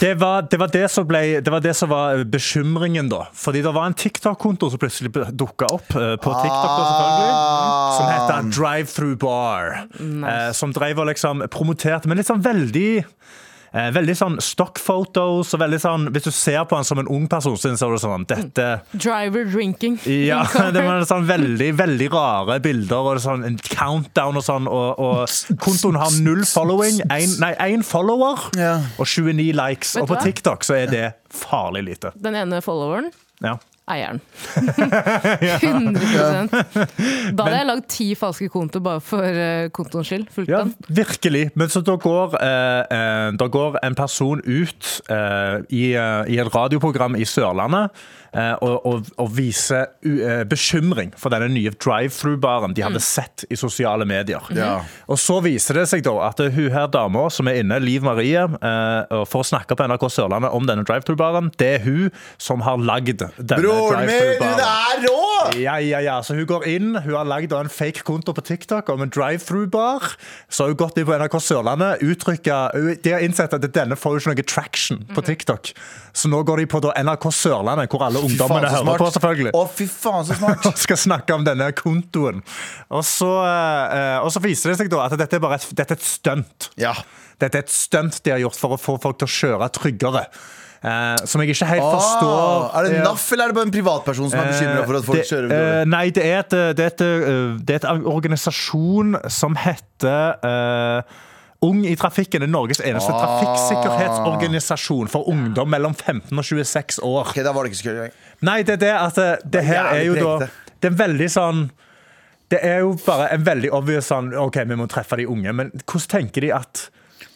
Speaker 4: det var, det, var det, som ble, det var det som var bekymringen, da. Fordi det var en TikTok-konto som plutselig dukka opp eh, på TikTok. da,
Speaker 2: Ah.
Speaker 4: selvfølgelig Som heter Drive Through Bar. eh, Som drev og liksom promoterte, men litt sånn veldig eh, Veldig sånn stock photos og veldig sånn Hvis du ser på han som en ung person, så er det sånn Dette
Speaker 3: Driver drinking.
Speaker 4: ja, det var sånn veldig veldig rare bilder og sånn en countdown og sånn. Og, og kontoen har null following. En, nei, én follower
Speaker 2: Ja.
Speaker 4: og 29 likes.
Speaker 3: Vet
Speaker 4: Og på
Speaker 3: du hva?
Speaker 4: TikTok så er det farlig lite.
Speaker 3: Den ene followeren
Speaker 4: Ja.
Speaker 3: eieren. 100 Da hadde jeg lagd ti falske kontoer bare for eh, kontoens skyld. Fulgt
Speaker 4: Ja,
Speaker 3: den.
Speaker 4: virkelig. Men så da går, eh, eh, da går en person ut eh, i, eh, i et radioprogram i Sørlandet eh, og, og, og viser u- eh, bekymring for denne nye drive-through-baren de
Speaker 3: Mm.
Speaker 4: hadde sett i sosiale medier.
Speaker 2: Ja.
Speaker 4: Og så viser det seg da at hun her dama som er inne, Liv Marie, eh, og for å snakke på NRK Sørlandet om denne drive-through-baren, det er hun som har lagd denne
Speaker 2: Broren min,
Speaker 4: drive-through-baren.
Speaker 2: hun er rå!
Speaker 4: Ja, ja, ja. Så hun går inn. Hun har lagd en fake konto på TikTok om en drive-through-bar. Så har hun gått inn på NRK Sørlandet. uttrykket- De har innsett at denne får jo ikke noe traction på TikTok. Så nå går de på da NRK Sørlandet, hvor alle
Speaker 2: Fy faen,
Speaker 4: ungdommene
Speaker 2: så
Speaker 4: hører på, selvfølgelig.
Speaker 2: smart. Å, fy faen, så smart.
Speaker 4: Og skal snakke om denne kontoen. Og så, eh, og så viser det seg da at dette er, bare et, dette er et stunt.
Speaker 2: Ja.
Speaker 4: Dette er et stunt de har gjort for å få folk til å kjøre tryggere. Eh, som jeg ikke helt forstår.
Speaker 2: Ah, er det
Speaker 4: Ja. Eh,
Speaker 2: NAF, eller er det bare en privatperson som er bekymra for at folk
Speaker 4: Det-
Speaker 2: kjører
Speaker 4: eh,
Speaker 2: utover?
Speaker 4: Nei, det er et, eh, det er et, eh, det er et organisasjon som heter eh, Ung i trafikken er Norges eneste
Speaker 2: Ah.
Speaker 4: trafikksikkerhetsorganisasjon for ungdom mellom 15 og 26 år.
Speaker 2: Ok, da var det ikke så gøy.
Speaker 4: Nei, det er det at eh, det her er
Speaker 2: jævlig
Speaker 4: jo da
Speaker 2: prekte.
Speaker 4: Det er veldig sånn det er jo bare en veldig obvious sånn OK, vi må treffe de unge, men hvordan tenker de at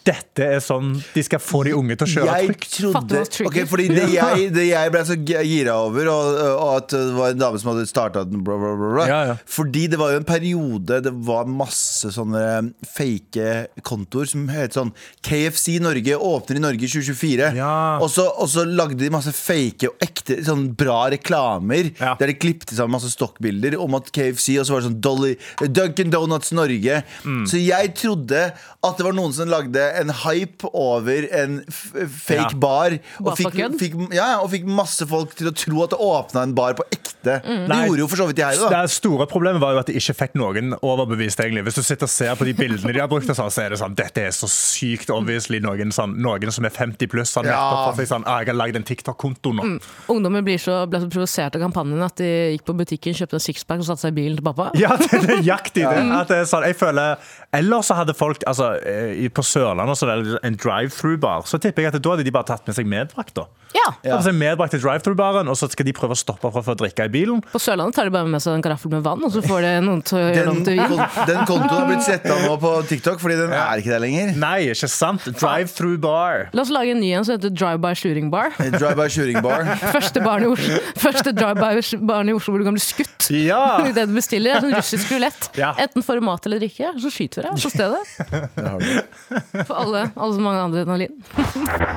Speaker 4: dette er sånn de skal få de unge til å kjøre
Speaker 2: Jeg
Speaker 4: trygt.
Speaker 2: trodde
Speaker 3: Fattigmanns trigger.
Speaker 2: Ok, fordi det jeg, det jeg ble så g- gira over, og, og at det var en dame som hadde starta den, bla, bla, bla, bla.
Speaker 4: Ja, ja.
Speaker 2: Fordi det var jo en periode det var masse sånne um, fake kontoer som het sånn KFC Norge åpner i Norge i 2024.
Speaker 4: Ja.
Speaker 2: Og, så, og så lagde de masse fake og ekte sånn bra reklamer
Speaker 4: Ja.
Speaker 2: der de klippet sammen masse stokkbilder om at KFC, og så var det sånn Dolly, Duncan Donuts Norge.
Speaker 4: Mm.
Speaker 2: Så jeg trodde at det var noen som lagde en hype over en f fake
Speaker 4: Ja.
Speaker 2: bar. Og
Speaker 3: Bare for
Speaker 2: fikk,
Speaker 3: kødd?
Speaker 2: fikk, ja, og fikk masse folk til å tro at det åpna en bar på ekte.
Speaker 3: Mm.
Speaker 2: Det
Speaker 4: Nei.
Speaker 2: gjorde jo for så vidt de her. da
Speaker 4: Det store problemet var jo at de ikke fikk noen overbevist. egentlig Hvis du sitter og ser på de bildene de har brukt, og sånn, så er det sånn Dette er så sykt obviously noen, sånn, noen som er 50 pluss. Sånn, nettopp
Speaker 2: Ja.
Speaker 4: har sagt sånn, ah, 'Jeg har lagd en TikTok-konto nå'.
Speaker 3: Ungdommer blir så, ble så provosert av kampanjen at de gikk på butikken, kjøpte en sixpack og satte seg i bilen til pappa.
Speaker 4: Ja, det er nøyaktig det. At det er sånn, jeg føler, ellers så hadde folk altså, eh, i- På Sørlandet så er det en drive-through-bar. Så tipper jeg at da hadde de bare tatt med seg medbrakt. da
Speaker 3: Ja.
Speaker 4: Tatt med seg medbrakt til drive-through-baren, og så skal de prøve å stoppe folk fra å drikke i bilen.
Speaker 3: På Sørlandet tar de bare med seg en karaffel med vann, og så får de noen til å gjøre
Speaker 2: Den,
Speaker 3: om til vin.
Speaker 2: kon- den kontoen har blitt sletta nå på TikTok, fordi den er ikke der lenger.
Speaker 4: Nei, ikke sant? Drive-through-bar.
Speaker 3: La oss lage en ny en som heter Drive-by Shooting Bar.
Speaker 2: Drive-by shooting bar.
Speaker 3: Første barn i Oslo Første drive-by-barn i Oslo hvor du kan bli skutt.
Speaker 4: Ja!
Speaker 3: Det du bestiller, er sånn russisk rulett.
Speaker 4: Ja.
Speaker 3: Enten får du mat eller drikke, så skyter vi deg på stedet. For alle, alle som mange andre adrenalin.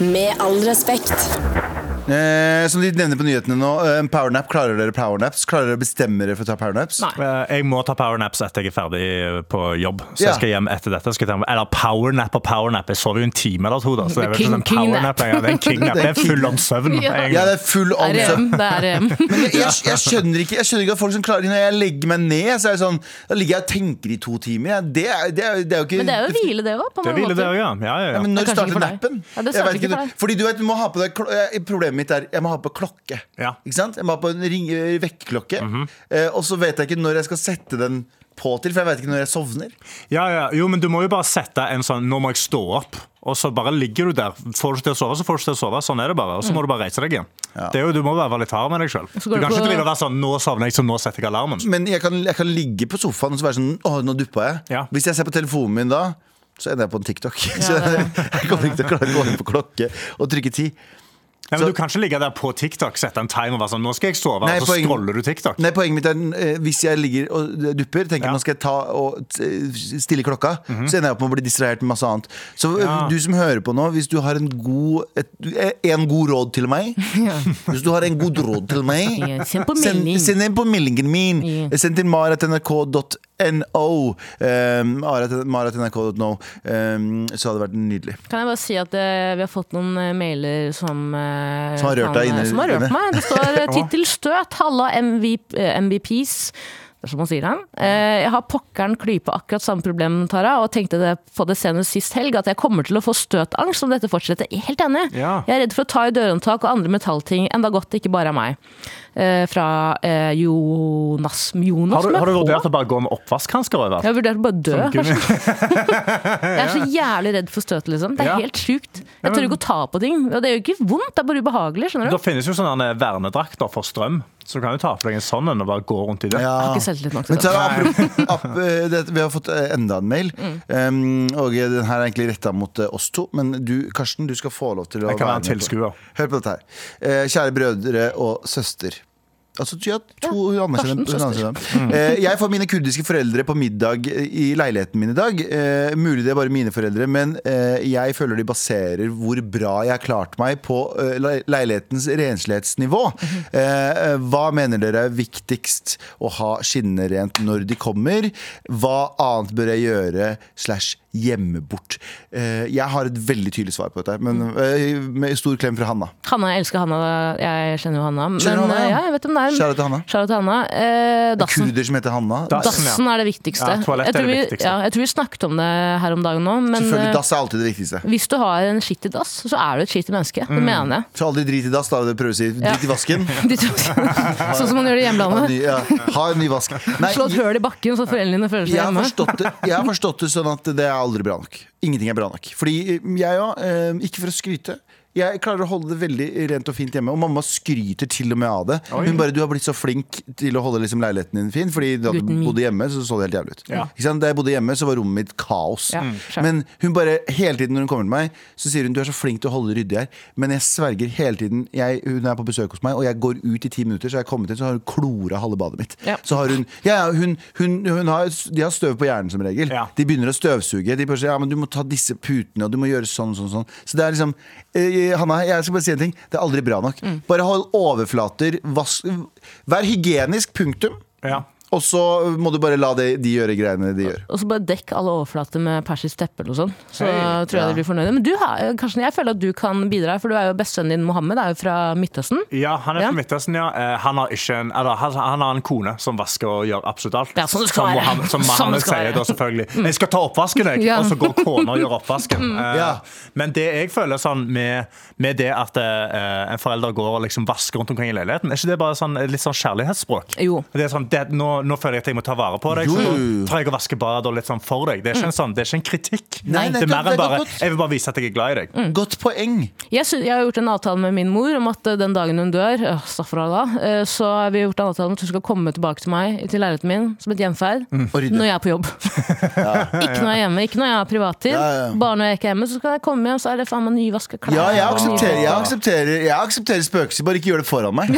Speaker 6: Med all respekt.
Speaker 2: Eh, som de nevner på nyhetene nå, eh, powernap. Klarer dere powernaps? Klarer dere å bestemme dere for å ta powernaps?
Speaker 3: Nei.
Speaker 4: Eh, Jeg må ta powernaps etter jeg er ferdig eh, på jobb. Så
Speaker 2: Ja.
Speaker 4: jeg skal hjem etter dette. Skal jeg ta, eller powernap og powernap. Jeg sover jo en time eller to. da Så Det er vel ikke
Speaker 3: King-
Speaker 4: sånn powernap lenger. Det er en kingnap. Det er full om søvn.
Speaker 3: Ja.
Speaker 4: egentlig.
Speaker 2: Ja, det er full on.
Speaker 3: Det er EM, det er E EM.
Speaker 2: Men jeg, jeg, jeg, skjønner ikke, jeg skjønner ikke at folk som klarer Når jeg legger meg ned, så er det sånn Da ligger jeg og tenker i to timer. jeg. Det er, det er, det er jo ikke
Speaker 3: Men det er jo hvile, det òg.
Speaker 4: Det hviler der, ja. Ja, ja,
Speaker 2: Ja,
Speaker 4: ja.
Speaker 2: men når
Speaker 3: Det er kanskje
Speaker 2: starter
Speaker 3: ikke for deg.
Speaker 2: nappen?
Speaker 3: Ja, det
Speaker 2: Jeg
Speaker 3: starter
Speaker 2: vet
Speaker 3: ikke for deg.
Speaker 2: Fordi du vet, du må ha på deg klo eh, Problemet mitt er jeg må ha på klokke.
Speaker 4: Ja.
Speaker 2: Ikke sant? Jeg må ha på en ring- eh, vekkerklokke. eh, og så vet jeg ikke når jeg skal sette den på til, for jeg vet ikke når jeg sovner.
Speaker 4: Ja, ja. Jo, men du må jo bare sette en sånn 'nå må jeg stå opp', og så bare ligger du der. Får du ikke til å sove, så får du ikke til å sove. Sånn er det bare. Og så må du bare reise deg igjen. Det er jo, Du må være litt hard med deg sjøl.
Speaker 3: så
Speaker 4: Du
Speaker 3: går
Speaker 4: kan
Speaker 3: du
Speaker 4: ikke
Speaker 3: på-
Speaker 4: drive og være sånn 'nå sovner jeg, så nå setter jeg alarmen'.
Speaker 2: Men jeg kan, jeg kan ligge på sofaen og så være sånn Å, nå duppa jeg.
Speaker 4: Ja.
Speaker 2: Hvis jeg ser på telefonen min da, så ender jeg på en TikTok. så
Speaker 3: det er
Speaker 2: jeg, kommer ikke til å klare å gå inn på klokke og trykke ti.
Speaker 4: Nei, men
Speaker 2: Så-
Speaker 4: Du kan ikke ligge der på TikTok, sette en timer og være sånn 'nå skal jeg sove',
Speaker 2: Nei,
Speaker 4: og så
Speaker 2: poeng-
Speaker 4: scroller du TikTok.
Speaker 2: Nei, Poenget mitt er eh, hvis jeg ligger og dupper, tenker
Speaker 4: Ja. Mhm.
Speaker 2: nå skal jeg ta og t- eh, stille klokka, så ender jeg opp med å bli distrahert med masse annet. Så eh,
Speaker 4: Ja.
Speaker 2: du som hører på nå, hvis du har en god, et, eh, en god råd til meg Hvis du har en god råd til meg
Speaker 3: Ja, send på melding.
Speaker 2: send, send inn på meldingen min.
Speaker 3: Ja.
Speaker 2: Send til maratnrk.no. Um, maratnrk.no. Um, så hadde det vært nydelig.
Speaker 3: Kan jeg bare si at eh, vi har fått noen eh, mailer som eh,
Speaker 2: Som har rørt
Speaker 3: kan-
Speaker 2: deg inni-
Speaker 3: Som har rørt
Speaker 2: inni.
Speaker 3: meg. Det står eh, tittel støt, halla MVP, eh, MVPs. Det er som man sier det. Eh, Jeg har pokkeren klype akkurat samme problem, Tara, og tenkte det på det senest sist helg, at jeg kommer til å få støtangst om dette fortsetter. Jeg er Helt enig.
Speaker 4: Ja.
Speaker 3: Jeg er redd for å ta i dørhåndtak og andre metallting, enda godt det ikke bare er meg. Eh, Fra eh, Jonas Jonas
Speaker 4: Har du,
Speaker 3: med
Speaker 4: har du
Speaker 3: H.
Speaker 4: vurdert å bare gå med oppvaskhansker over?
Speaker 3: Jeg har vurdert å bare dø.
Speaker 4: Sånn gummi-
Speaker 3: Jeg er så jævlig redd for støt, liksom. Det er
Speaker 4: Ja.
Speaker 3: helt sjukt. Jeg
Speaker 4: men-
Speaker 3: tør ikke å ta på ting. Og det gjør ikke vondt, det er bare ubehagelig, skjønner du.
Speaker 4: Da finnes jo sånne vernedrakter for strøm, så du kan jo ta på deg en sånn en og bare gå rundt i det.
Speaker 2: Ja.
Speaker 3: Jeg har ikke selvtillit nok
Speaker 2: Men
Speaker 3: til det. Mm.
Speaker 2: Tara, apropos- ap- eh, det, vi har fått eh, enda en mail, um, og den her er egentlig retta mot eh, oss to. Men du, Karsten, du skal få lov til å
Speaker 4: Jeg kan være
Speaker 2: med
Speaker 4: en tilskuer.
Speaker 2: på- Hør på dette her. Eh, kjære brødre og søster. Altså, ja, to, hun anerkjenner, hun
Speaker 3: Karsten, søster. Mm.
Speaker 2: anerkjenner. dem. Eh, jeg får mine kurdiske foreldre på middag i leiligheten min i dag. Eh, mulig det er bare mine foreldre, men eh, jeg føler de baserer hvor bra jeg har klart meg på eh, le- leilighetens renslighetsnivå.
Speaker 3: Mhm.
Speaker 2: Eh, hva mener dere er viktigst å ha skinnene rent når de kommer? Hva annet bør jeg gjøre slash gjemme bort? Eh, jeg har et veldig tydelig svar på dette, men
Speaker 3: Mm.
Speaker 2: eh, med stor klem fra Hanna.
Speaker 3: Hanna, jeg elsker Hanna. Jeg kjenner jo Hanna. Men
Speaker 2: Kjenner du Hanna, ja?
Speaker 3: eh, ja, jeg vet om det er.
Speaker 2: Kjære til Hanna.
Speaker 3: Shout out til Hanna. Eh, dassen.
Speaker 2: Kurder som heter Hanna.
Speaker 4: Da- Dassen, ja.
Speaker 3: Dassen er det viktigste.
Speaker 4: Ja, toalett
Speaker 3: Jeg
Speaker 4: er
Speaker 3: tror
Speaker 4: det
Speaker 3: vi-
Speaker 4: viktigste.
Speaker 3: Ja, jeg tror vi snakket om det her om dagen nå, men
Speaker 2: Selvfølgelig,
Speaker 3: eh,
Speaker 2: dass er alltid det viktigste.
Speaker 3: hvis du har en skittig dass, så er du et skittig menneske.
Speaker 4: Mm.
Speaker 3: Det mener jeg.
Speaker 2: Så aldri drit i dass, da er det prøver å si. Drit i vasken.
Speaker 3: De tror- sånn som man gjør det i
Speaker 2: Ha en
Speaker 3: hjemlandet.
Speaker 2: ny, ja, ha en ny vask. Nei,
Speaker 3: Slå et høl i bakken så foreldrene dine føler seg
Speaker 2: jeg har,
Speaker 3: hjemme.
Speaker 2: forstått det, jeg har forstått det sånn at det er aldri bra nok. Ingenting er bra nok. Fordi eh, jeg òg, eh, ikke for å skryte, Jeg klarer å holde det veldig rent og fint hjemme. Og mamma skryter til og med av det. Hun bare 'du har blitt så flink til å holde liksom leiligheten din fin', fordi da du
Speaker 3: Gutten min.
Speaker 2: bodde hjemme, så så det helt jævlig ut.
Speaker 4: Ja.
Speaker 2: Ikke sant? Da jeg bodde hjemme, så var rommet mitt kaos. Mm.
Speaker 3: Ja, skjønner.
Speaker 2: Men hun bare, hele tiden når hun kommer til meg, så sier hun 'du er så flink til å holde ryddig her', men jeg sverger hele tiden jeg, Hun er på besøk hos meg, og jeg går ut i ti minutter, så har jeg kommet inn, så har hun klora halve badet mitt.
Speaker 3: Ja.
Speaker 2: Så har hun, ja, ja, hun, hun, hun har, De har støv på hjernen som regel.
Speaker 4: Ja.
Speaker 2: De begynner å støvsuge. De bare sier ja, men du må ta disse putene, og du må gjøre sånn, sånn, sånn. Så det er liksom eh, Hanna, jeg skal bare si en ting. Det er aldri bra nok.
Speaker 4: Mm.
Speaker 2: Bare hold overflater. Vask, vær hygienisk, punktum.
Speaker 4: Ja.
Speaker 2: Og så må du bare la de, de gjøre greiene de gjør.
Speaker 3: Og så bare dekk alle overflater med persisk teppe eller noe sånt. Så
Speaker 4: Hei.
Speaker 3: tror jeg de blir fornøyde. Men du, har- Karsten, jeg føler at du kan bidra, for du er jo bestevennen din Mohammed, er jo fra Midtøsten.
Speaker 4: Ja, han er
Speaker 3: Ja.
Speaker 4: fra Midtøsten, ja. Eh, Han har, ikke en, eller, han, han har en kone som vasker og gjør absolutt alt.
Speaker 3: Ja, sånn det skal
Speaker 4: som
Speaker 3: være.
Speaker 4: Mohammed, som
Speaker 3: Sånn det
Speaker 4: Mohammed
Speaker 3: skal være.
Speaker 4: sier da, selvfølgelig. Jeg skal ta oppvasken, jeg!
Speaker 3: Ja. Mm.
Speaker 4: Og så går kona og gjør oppvasken. Eh,
Speaker 2: Ja.
Speaker 4: Men det jeg føler sånn med, med det at eh, en forelder går og liksom vasker rundt omkring i leiligheten, er ikke det bare sånn, eh, litt sånn kjærlighetsspråk?
Speaker 3: Jo.
Speaker 4: Det er sånn, det, nå, nå føler jeg at jeg må ta vare på deg,
Speaker 2: Jo,
Speaker 4: så
Speaker 2: jo,
Speaker 4: nå
Speaker 2: jo.
Speaker 4: tar jeg og vasker badet og litt sånn for deg. Det er ikke
Speaker 3: Mm.
Speaker 4: en, sånn, det er ikke en kritikk.
Speaker 2: Nei,
Speaker 4: det
Speaker 2: nettopp,
Speaker 4: er mer
Speaker 2: det
Speaker 4: enn
Speaker 2: er
Speaker 4: bare
Speaker 2: godt.
Speaker 4: Jeg vil bare vise at jeg er glad i deg.
Speaker 3: Mm.
Speaker 2: Godt poeng.
Speaker 3: Jeg, sy- jeg har gjort en avtale med min mor om at eh, den dagen hun dør, øh, Safrallah, eh, så har vi gjort en avtale om at hun skal komme tilbake til meg, til leiligheten min, som et gjenferd,
Speaker 2: Og rydde.
Speaker 3: når jeg er på jobb. ikke når jeg er hjemme, ikke når jeg har privattid.
Speaker 2: Ja, ja.
Speaker 3: Bare når jeg ikke er hjemme, så skal jeg komme hjem, så er det faen meg nyvaska klær.
Speaker 2: Ja, jeg
Speaker 3: og
Speaker 2: aksepterer, jeg
Speaker 3: nyvaska-
Speaker 2: aksepterer, jeg aksepterer spøkelser, bare ikke gjør det foran meg.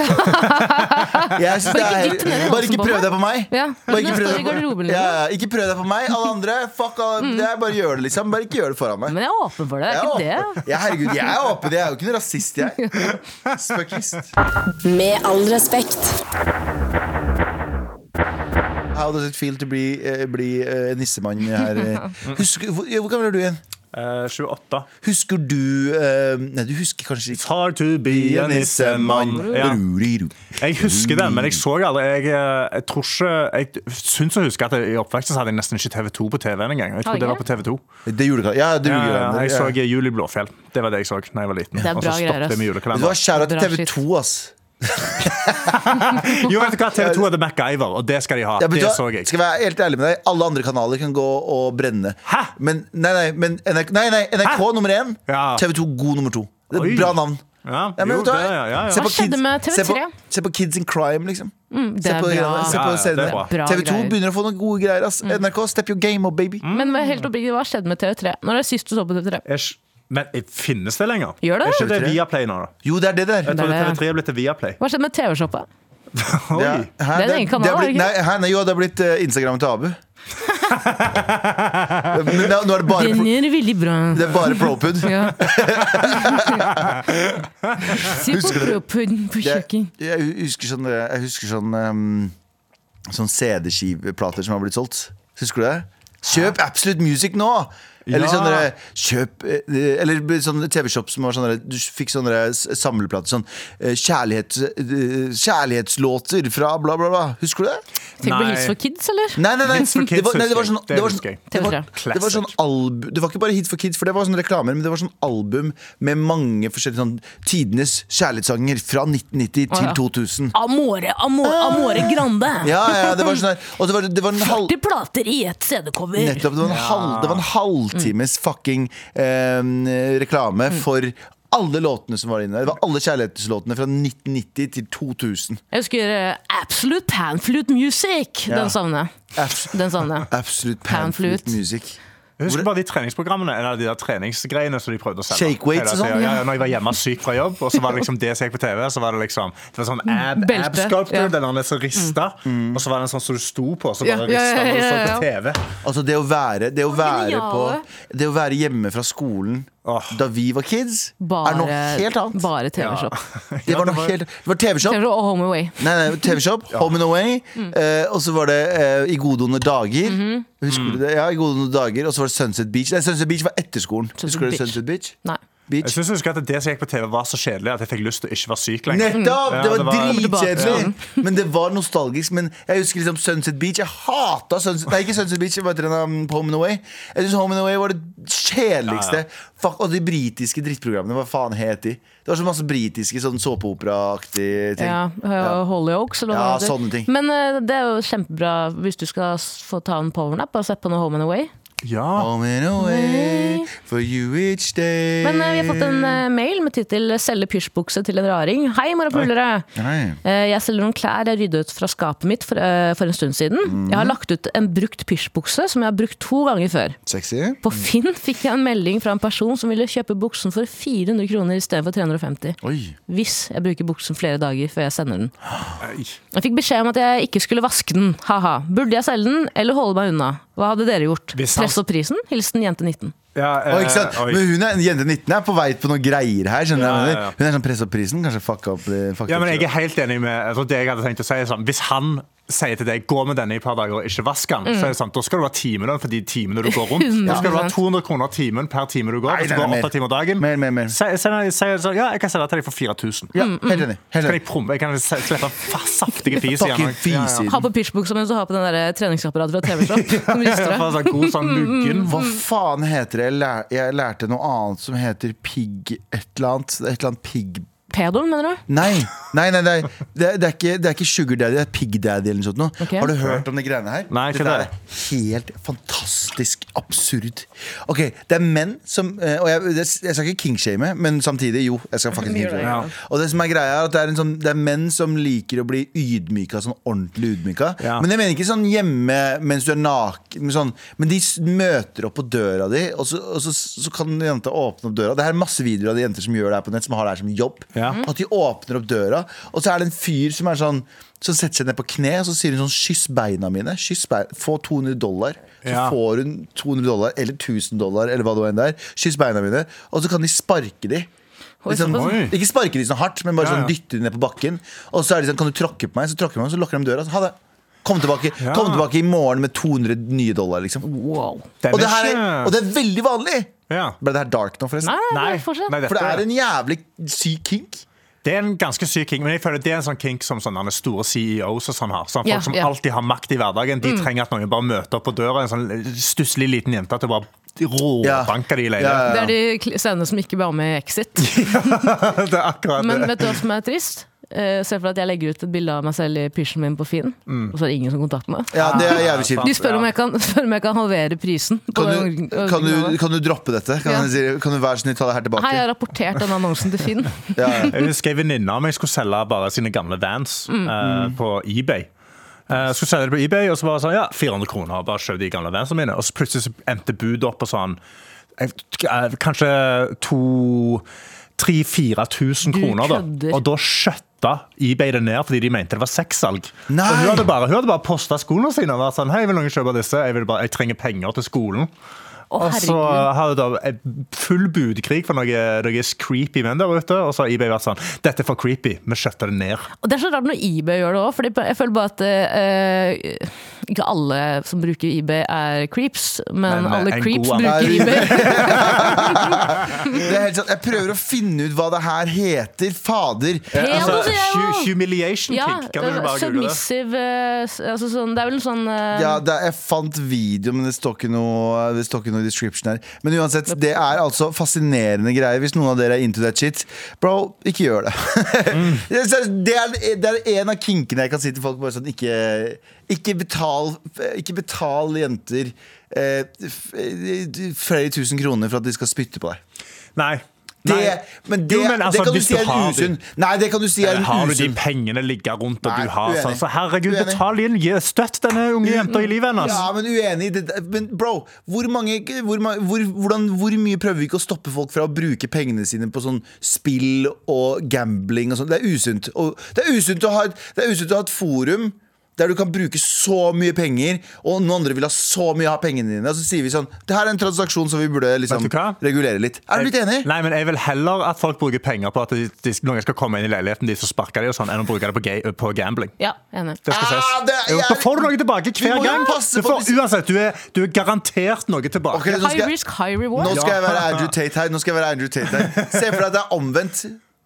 Speaker 2: Jeg synes det
Speaker 3: Bare ikke
Speaker 2: er,
Speaker 3: dytt den ned
Speaker 2: bare
Speaker 3: i
Speaker 2: ikke
Speaker 3: halsen på
Speaker 2: prøv
Speaker 3: meg.
Speaker 2: deg på meg.
Speaker 3: Ja,
Speaker 2: Bare ikke
Speaker 3: den
Speaker 2: prøv
Speaker 3: står
Speaker 2: deg
Speaker 3: i garderoben,
Speaker 2: på, ja, ja, ikke prøv deg på meg. Alle andre, fuck all, det er bare gjør det, liksom. Bare ikke gjør det foran meg.
Speaker 3: Men jeg er åpen for det,
Speaker 2: Jeg
Speaker 3: er ikke
Speaker 2: er
Speaker 3: det?
Speaker 2: åpen. Ja, herregud, jeg er åpen. Jeg er jo ikke noen rasist, jeg. Spøkist.
Speaker 6: Med all respekt.
Speaker 2: How does it feel to bli, eh, bli eh, nissemann her? eh? Husker, hvor, ja, hvor gammel er du igjen?
Speaker 4: Eh, 28.
Speaker 2: Husker du eh, Nei, du husker kanskje
Speaker 4: It's
Speaker 2: ikke.
Speaker 4: hard to be a nissemann. Ja. Jeg husker den, men jeg så aldri Jeg, eh, jeg tror ikke Jeg syns å huske at jeg, i oppveksten så hadde jeg nesten ikke TV2 på TV-en engang. Jeg
Speaker 3: Har
Speaker 4: tror det
Speaker 3: du
Speaker 4: var på TV2.
Speaker 2: Det er julekalender. Ja, det er
Speaker 4: Ja, ja,
Speaker 2: julekalender. ja.
Speaker 4: jeg så eh, Jul i Blåfjell. Det var det jeg så da jeg var liten.
Speaker 3: Det er
Speaker 4: Og
Speaker 3: bra
Speaker 4: så
Speaker 3: greier,
Speaker 4: stoppet jeg med
Speaker 3: ass.
Speaker 2: Det var
Speaker 4: julekalender.
Speaker 2: skjæra til
Speaker 3: Bra
Speaker 2: TV 2, ass.
Speaker 4: Jo, vet du hva, TV2 hadde MacGyver, og det skal de ha.
Speaker 2: Ja, men
Speaker 4: Det
Speaker 2: vet du
Speaker 4: så
Speaker 2: hva?
Speaker 4: jeg.
Speaker 2: Skal jeg være helt ærlig med deg Alle andre kanaler kan gå og brenne.
Speaker 4: Hæ?
Speaker 2: Men, nei, nei, men NRK, nei, nei, NRK
Speaker 4: Hæ?
Speaker 2: nummer én,
Speaker 4: Ja.
Speaker 2: TV 2 god nummer to. Det er
Speaker 4: Oi.
Speaker 2: et bra navn.
Speaker 4: Ja,
Speaker 2: Ja, men
Speaker 4: jo,
Speaker 2: vet du
Speaker 4: det,
Speaker 2: hva?
Speaker 4: ja, ja,
Speaker 2: Se
Speaker 4: ja.
Speaker 2: på
Speaker 3: Hva skjedde
Speaker 2: Kids-
Speaker 3: med TV3?
Speaker 2: Se på, se på Kids in Crime, liksom.
Speaker 3: det
Speaker 2: se
Speaker 3: er
Speaker 2: på, Se
Speaker 3: bra.
Speaker 4: Ja,
Speaker 2: på
Speaker 4: ja, det er
Speaker 2: seriene.
Speaker 4: bra.
Speaker 3: Bra
Speaker 2: TV 2
Speaker 3: greier. Mm.
Speaker 2: begynner å få noen gode greier. Ass. NRK, step your game up, baby.
Speaker 4: Mm.
Speaker 3: Men hva- helt oppriktig, hva skjedde med TV3? Når er det sist du så på TV3?
Speaker 4: Æsj. Men eh, finnes det lenger?
Speaker 3: Gjør det?
Speaker 4: Er ikke det Viaplay nå, da?
Speaker 2: Jo, det er det der.
Speaker 4: Jeg
Speaker 3: Det er
Speaker 4: tror
Speaker 3: det.
Speaker 4: TV3 er blitt til Viaplay.
Speaker 3: Hva skjedde med TV-shoppa?
Speaker 4: Oi.
Speaker 2: Ja. Hæ?
Speaker 3: Det er en egen kanal,
Speaker 2: det
Speaker 3: er det
Speaker 2: blitt,
Speaker 3: ikke?
Speaker 2: nei, hæ? nei, jo, det har blitt eh, Instagram til Abu. Men nå, nå er det bare,
Speaker 3: Den
Speaker 2: pro-
Speaker 3: gjør veldig bra.
Speaker 2: det er bare propud.
Speaker 3: Ja. Se på
Speaker 2: Husker du-
Speaker 3: propuden på kjøkken.
Speaker 2: Det- Jeg husker sånn, jeg husker sånn, um, sånn CD-skiveplater som har blitt solgt. Husker du det? Kjøp Absolute Music nå! Eller
Speaker 4: Ja.
Speaker 2: sånn der, kjøp eh, Eller sånn TV-shop som var sånn der, Du fikk sånne der s- samleplater. Sånn eh, kjærlighet, eh, kjærlighetslåter fra bla, bla, bla. Husker du det?
Speaker 3: Tenk på
Speaker 4: Nei.
Speaker 3: Hits for kids, eller?
Speaker 2: Nei, nei, nei.
Speaker 4: Hits for Kids
Speaker 2: det var, nei, det var
Speaker 4: husker jeg.
Speaker 2: sånn, det var
Speaker 4: Det
Speaker 2: sånn,
Speaker 4: husker
Speaker 2: det var,
Speaker 3: jeg.
Speaker 2: det var sånn album Det var ikke bare Hits for Kids, for det var sånn reklamer, men det var sånn album med mange forskjellige sånn tidenes kjærlighetssanger fra 1990
Speaker 3: Å,
Speaker 2: til
Speaker 3: ja.
Speaker 2: 2000.
Speaker 3: Amore, amore, amore grande.
Speaker 2: Ah. Ja, ja, det var sånn her Og det var, det var en halv
Speaker 3: plater i ett CD-cover.
Speaker 2: Nettopp, det var en, halv, det var en halvtimes fucking eh, reklame for alle låtene som var inne der. Det var alle kjærlighetslåtene fra 1990 til 2000.
Speaker 3: Jeg husker eh, Absolute Panflute Music.
Speaker 2: Ja.
Speaker 3: Den savner jeg.
Speaker 2: Abs
Speaker 3: Den savner jeg.
Speaker 2: absolute
Speaker 3: Panflute.
Speaker 2: panflute music.
Speaker 4: Jeg husker bare de treningsprogrammene Eller de der treningsgreiene som de prøvde å selge.
Speaker 2: Shake weights og sånn,
Speaker 4: Ja,
Speaker 2: ja.
Speaker 4: ja, når jeg var hjemme syk fra jobb, og så var det liksom det som gikk på TV. Så var det liksom Det var sånn
Speaker 2: Mm.
Speaker 4: ab,
Speaker 3: Belte,
Speaker 4: ab sculpture,
Speaker 3: ja.
Speaker 4: den der som rista, og så var det en sånn som du sto på, og så
Speaker 3: Ja,
Speaker 4: bare
Speaker 3: ja, ja,
Speaker 4: rista når du så
Speaker 3: ja,
Speaker 4: på TV.
Speaker 2: Altså det å være, det å være på
Speaker 3: geniale.
Speaker 2: Det å være hjemme fra skolen
Speaker 4: Åh.
Speaker 2: da vi var kids, er noe helt annet.
Speaker 3: Bare TV-shop.
Speaker 2: det var noe helt Det var TV-shop.
Speaker 3: TV-shop og Home Away.
Speaker 2: Nei, nei, TV-shop, Home and Away,
Speaker 3: Mm.
Speaker 2: eh, og så var det eh, I gode onde dager.
Speaker 3: Mhm.
Speaker 2: Husker du det? Ja, i gode onde dager Og så var det Sunset Beach. Nei, Sunset Beach var etter skolen.
Speaker 3: Sunset
Speaker 2: Husker du
Speaker 3: Beach.
Speaker 2: Sunset Beach?
Speaker 3: Nei.
Speaker 2: Beach?
Speaker 4: Jeg synes jeg husker at Det som gikk på TV, var så kjedelig at jeg fikk lyst til å ikke være syk lenger.
Speaker 2: Nettopp!
Speaker 4: Ja,
Speaker 2: Det var
Speaker 4: det var-
Speaker 2: dritkjedelig. Men det var nostalgisk. Men jeg husker liksom Sunset Beach. Jeg hata Sunset Nei, ikke Sunset Beach, bare um, Home and Away. Jeg synes Home and Away var det kjedeligste. Fuck, Og de britiske drittprogrammene, hva faen het de? Det var så masse britiske sånn såpeoperaaktige ting.
Speaker 3: Ja,
Speaker 2: Ja.
Speaker 3: Hollyoaks eller
Speaker 2: Ja,
Speaker 3: det heter.
Speaker 2: sånne ting.
Speaker 3: Men eh, det er jo kjempebra hvis du skal s- få ta en powernap og sette på noe Home and Away.
Speaker 4: Ja,
Speaker 2: Home and Away,
Speaker 3: day.
Speaker 2: For you each day.
Speaker 3: Men eh, vi har fått en eh, mail med tittel 'Selge pysjbukse til en raring'. Hei, morapulere!
Speaker 2: Hei.
Speaker 3: Eh, jeg selger noen klær jeg rydda ut fra skapet mitt for, eh, for en stund siden. Jeg
Speaker 4: Mm.
Speaker 3: har lagt ut en brukt pysjbukse som jeg har brukt to ganger før.
Speaker 2: Sexy.
Speaker 3: På
Speaker 4: Mm.
Speaker 3: Finn fikk jeg en melding fra en person som ville kjøpe buksen for 400 kroner istedenfor 350.
Speaker 2: Oi.
Speaker 3: Hvis jeg bruker buksen flere dager før jeg sender den.
Speaker 4: Nei.
Speaker 3: Jeg fikk beskjed om at jeg ikke skulle vaske den. Ha-ha. Burde jeg selge den, eller holde meg unna? Hva hadde dere gjort?
Speaker 4: Hvis han-
Speaker 3: Press opp prisen? Hilsen jente 19.
Speaker 4: Ja, eh,
Speaker 2: Å, ikke sant?
Speaker 4: oi.
Speaker 2: Men hun er, jente 19 er på vei på noen greier her. Skjønner du hva
Speaker 4: Ja,
Speaker 2: jeg
Speaker 4: ja, ja.
Speaker 2: mener? Hun er sånn press opp prisen. Kanskje fuck up. eh, Fuck
Speaker 4: Ja,
Speaker 2: up
Speaker 4: men jeg er helt enig med altså, det jeg hadde tenkt å si. er Sånn, hvis han sier til deg 'gå med denne i et par dager og ikke vask den', så er det sant, da skal du ha timelønn for de timene du går rundt. Da skal du ha 200 kroner timen per time du går.
Speaker 2: Nei,
Speaker 4: hvis
Speaker 2: det
Speaker 4: du
Speaker 2: er
Speaker 4: går
Speaker 2: mer.
Speaker 4: åtte timer dagen.
Speaker 2: Mer, mer, mer.
Speaker 4: Si- si- si- si- ja, jeg kan selge til deg for 4000.
Speaker 2: Ja,
Speaker 3: Mm,
Speaker 2: helt enig.
Speaker 4: Så
Speaker 2: Helt
Speaker 4: kan jeg
Speaker 2: enig.
Speaker 4: promme, jeg kan se- slippe fa- saftige fis igjen.
Speaker 2: Fucking fis i
Speaker 3: Ha
Speaker 2: den.
Speaker 3: på pysjbuksa mens du har på den der eh, treningsapparatet fra TV-Shop. som rister deg.
Speaker 4: Bare sånn god sånn muggen.
Speaker 3: Mm.
Speaker 2: Hva faen heter det? Jeg, lær, jeg lærte noe annet som heter pigg et eller annet. Et eller annet pigg...
Speaker 3: Pedoen, mener du?
Speaker 2: Nei, nei, nei, nei. Det, er- det, er ikke, det er ikke sugar daddy, det er pig daddy eller noe sånt. nå.
Speaker 3: Ok.
Speaker 2: Har du hørt om de greiene her?
Speaker 4: Nei, ikke
Speaker 2: Dette
Speaker 4: det.
Speaker 2: er helt fantastisk absurd. Ok, det er menn som eh, Og jeg, det- jeg skal ikke kingshame, men samtidig, jo. Jeg skal faktisk
Speaker 3: Gjør det,
Speaker 2: kingshame.
Speaker 4: ja.
Speaker 2: Og det som er greia er at det er, en sånn, det er menn som liker å bli ydmyka, sånn ordentlig ydmyka.
Speaker 4: Ja.
Speaker 2: Men jeg mener ikke sånn hjemme mens du er naken, men sånn, men de s- møter opp på døra di, og så, og så, så kan jenta åpne opp døra. Det her er masse videoer av de jenter som gjør det her på nett, som har det her som jobb.
Speaker 4: Ja.
Speaker 2: At de åpner opp døra, og så er det en fyr som er sånn Som setter seg ned på kne og så sier hun sånn 'Kyss beina mine'. Kyss beina. Få 200 dollar. Så
Speaker 4: Ja.
Speaker 2: får hun 200 dollar eller 1000 dollar eller hva det enn det er. Kyss beina mine. Og så kan de sparke de. Litt sånn-
Speaker 4: såpass. Oi.
Speaker 2: ikke sparke de sånn hardt, men bare
Speaker 4: Ja,
Speaker 2: sånn
Speaker 4: ja.
Speaker 2: dytte de ned på bakken. Og så er de sånn 'Kan du tråkke på meg?' Så tråkker man, så lukker de døra. Så ha det. Kom tilbake,
Speaker 4: Ja.
Speaker 2: kom tilbake i morgen med 200 nye dollar, liksom.
Speaker 3: Wow.
Speaker 4: Den
Speaker 2: Og det,
Speaker 4: er
Speaker 2: her er,
Speaker 4: ikke-
Speaker 2: og det er veldig vanlig!
Speaker 4: Ja.
Speaker 2: Ble det her dark nå, forresten?
Speaker 3: Nei, nei,
Speaker 4: Nei,
Speaker 3: nei, fortsett.
Speaker 4: nei,
Speaker 2: For det er
Speaker 4: dette-
Speaker 2: en jævlig syk kink.
Speaker 4: Det er en ganske syk kink, men jeg føler det er en sånn kink som sånne store CEOs og sånn har. Sånn folk
Speaker 3: Ja,
Speaker 4: som
Speaker 3: ja. Mm.
Speaker 4: alltid har makt i hverdagen. De trenger at noen bare møter opp på døra, en sånn stusslig liten jente til å bare råbanker de i leiligheten.
Speaker 3: Det er de kl- scenene som ikke var med i Exit.
Speaker 4: det er akkurat
Speaker 3: Men
Speaker 4: det.
Speaker 3: vet du hva som er trist? Uh, se for deg at jeg legger ut et bilde av meg selv i pysjen min på Finn, og så er det ingen som kontakter meg.
Speaker 2: Mm. Ja, det er
Speaker 4: Ah,
Speaker 2: jævlig kjipt.
Speaker 3: De spør om jeg kan, spør om jeg kan halvere prisen. på
Speaker 2: Kan du,
Speaker 3: den or-
Speaker 2: kan, du,
Speaker 3: originale.
Speaker 2: kan du droppe dette? Kan,
Speaker 3: Ja.
Speaker 2: jeg si, kan du være så snill ta det her tilbake?
Speaker 3: Hei, jeg har rapportert den annonsen til Finn.
Speaker 2: Ja, ja.
Speaker 4: Jeg husker en venninne av meg skulle selge bare sine gamle vans
Speaker 3: Mm.
Speaker 4: eh, på eBay. Eh, skulle selge det på eBay, og så bare sånn, ja, 400 kroner, bare kjøp de gamle vansene mine. Og så plutselig så endte budet opp på sånn, eh, eh, kanskje to, tre, fire tusen
Speaker 3: Du
Speaker 4: kroner da.
Speaker 3: kødder.
Speaker 4: Og da skjøtta eBay det ned fordi de mente det var sexsalg. Så
Speaker 2: Nei!
Speaker 4: hun hadde bare, hun hadde bare postet skolene sine og vært sånn, hei, vil noen kjøpe disse? Jeg, vil bare, jeg trenger penger til skolen.
Speaker 3: Å,
Speaker 4: Og så
Speaker 2: Altså-
Speaker 3: herregud.
Speaker 4: har det da full budkrig for noen noe creepy menn der ute, og så har eBay vært sånn Dette er for creepy, vi skjøtter det ned.
Speaker 3: Og det er så rart når eBay gjør det òg, for jeg føler bare at eh, ikke alle som bruker eBay er creeps, men,
Speaker 4: Men, eh,
Speaker 3: alle
Speaker 4: en
Speaker 3: creeps
Speaker 4: god
Speaker 3: bruker
Speaker 2: analyse.
Speaker 3: eBay.
Speaker 2: Det er helt sant. Jeg prøver å finne ut hva det her heter. Fader.
Speaker 3: Ja,
Speaker 4: altså,
Speaker 3: da sier jeg altså, jo.
Speaker 4: hu- humiliation
Speaker 3: Ja,
Speaker 4: kick, kan du bare google det?
Speaker 3: submissive eh, s- altså sånn, Det er vel en sånn eh,
Speaker 2: Ja, det, jeg fant video, men det står ikke noe Det står ikke noe description her. Men uansett, det er altså fascinerende greier hvis noen av dere er into that shit. Bro, ikke gjør det.
Speaker 4: Mm.
Speaker 2: det, er, det er en av kinkene jeg kan si til folk. Bare sånn, ikke, ikke, betal, ikke betal jenter eh, f- eh, flere tusen kroner for at de skal spytte på deg.
Speaker 4: Nei.
Speaker 2: Det,
Speaker 4: Nei.
Speaker 2: men det,
Speaker 4: Jo, men altså,
Speaker 2: det kan du
Speaker 4: hvis
Speaker 2: si er en
Speaker 4: har de-
Speaker 2: usunn Nei, det kan du si er
Speaker 4: Eller
Speaker 2: en
Speaker 4: har du de
Speaker 2: usunn
Speaker 4: pengene ligge rundt, og
Speaker 2: Nei,
Speaker 4: du har
Speaker 2: uenig.
Speaker 4: sånn Så herregud,
Speaker 2: Uenig.
Speaker 4: betal inn! gi- Støtt denne unge jenta i livet hennes!
Speaker 2: Ja, men uenig i det Men bro, hvor, mange, hvor, ma- hvor, hvordan, hvor mye prøver vi ikke å stoppe folk fra å bruke pengene sine på sånn spill og gambling og sånn? Det er usunt. Og det er usunt å ha et, det er usunt å ha et forum der du kan bruke så mye penger, og noen andre vil ha så mye av pengene dine. Og så sier vi sånn Det her er en transaksjon som vi burde liksom
Speaker 4: Vet du hva?
Speaker 2: regulere litt. Er du litt enig?
Speaker 4: Nei, men Jeg vil heller at folk bruker penger på at de, de, noen skal komme inn i leiligheten deres og sparke dem, og sånn, enn å bruke det på, ga- på gambling.
Speaker 3: Ja, enig.
Speaker 4: Det skal
Speaker 2: Ah,
Speaker 4: ses.
Speaker 2: det er
Speaker 4: jo, da
Speaker 2: jævlig-
Speaker 4: får du noe tilbake hver
Speaker 2: må jo
Speaker 4: gang.
Speaker 2: passe
Speaker 4: Du
Speaker 2: på
Speaker 4: får,
Speaker 2: disse-
Speaker 4: uansett, du er, du er garantert noe tilbake.
Speaker 2: Ok, nå
Speaker 3: High
Speaker 2: skal jeg,
Speaker 3: risk, high reward.
Speaker 2: nå skal jeg
Speaker 4: Ja.
Speaker 2: være Andrew Tate her. Nå skal jeg være Andrew Tate her Se for deg at det er omvendt.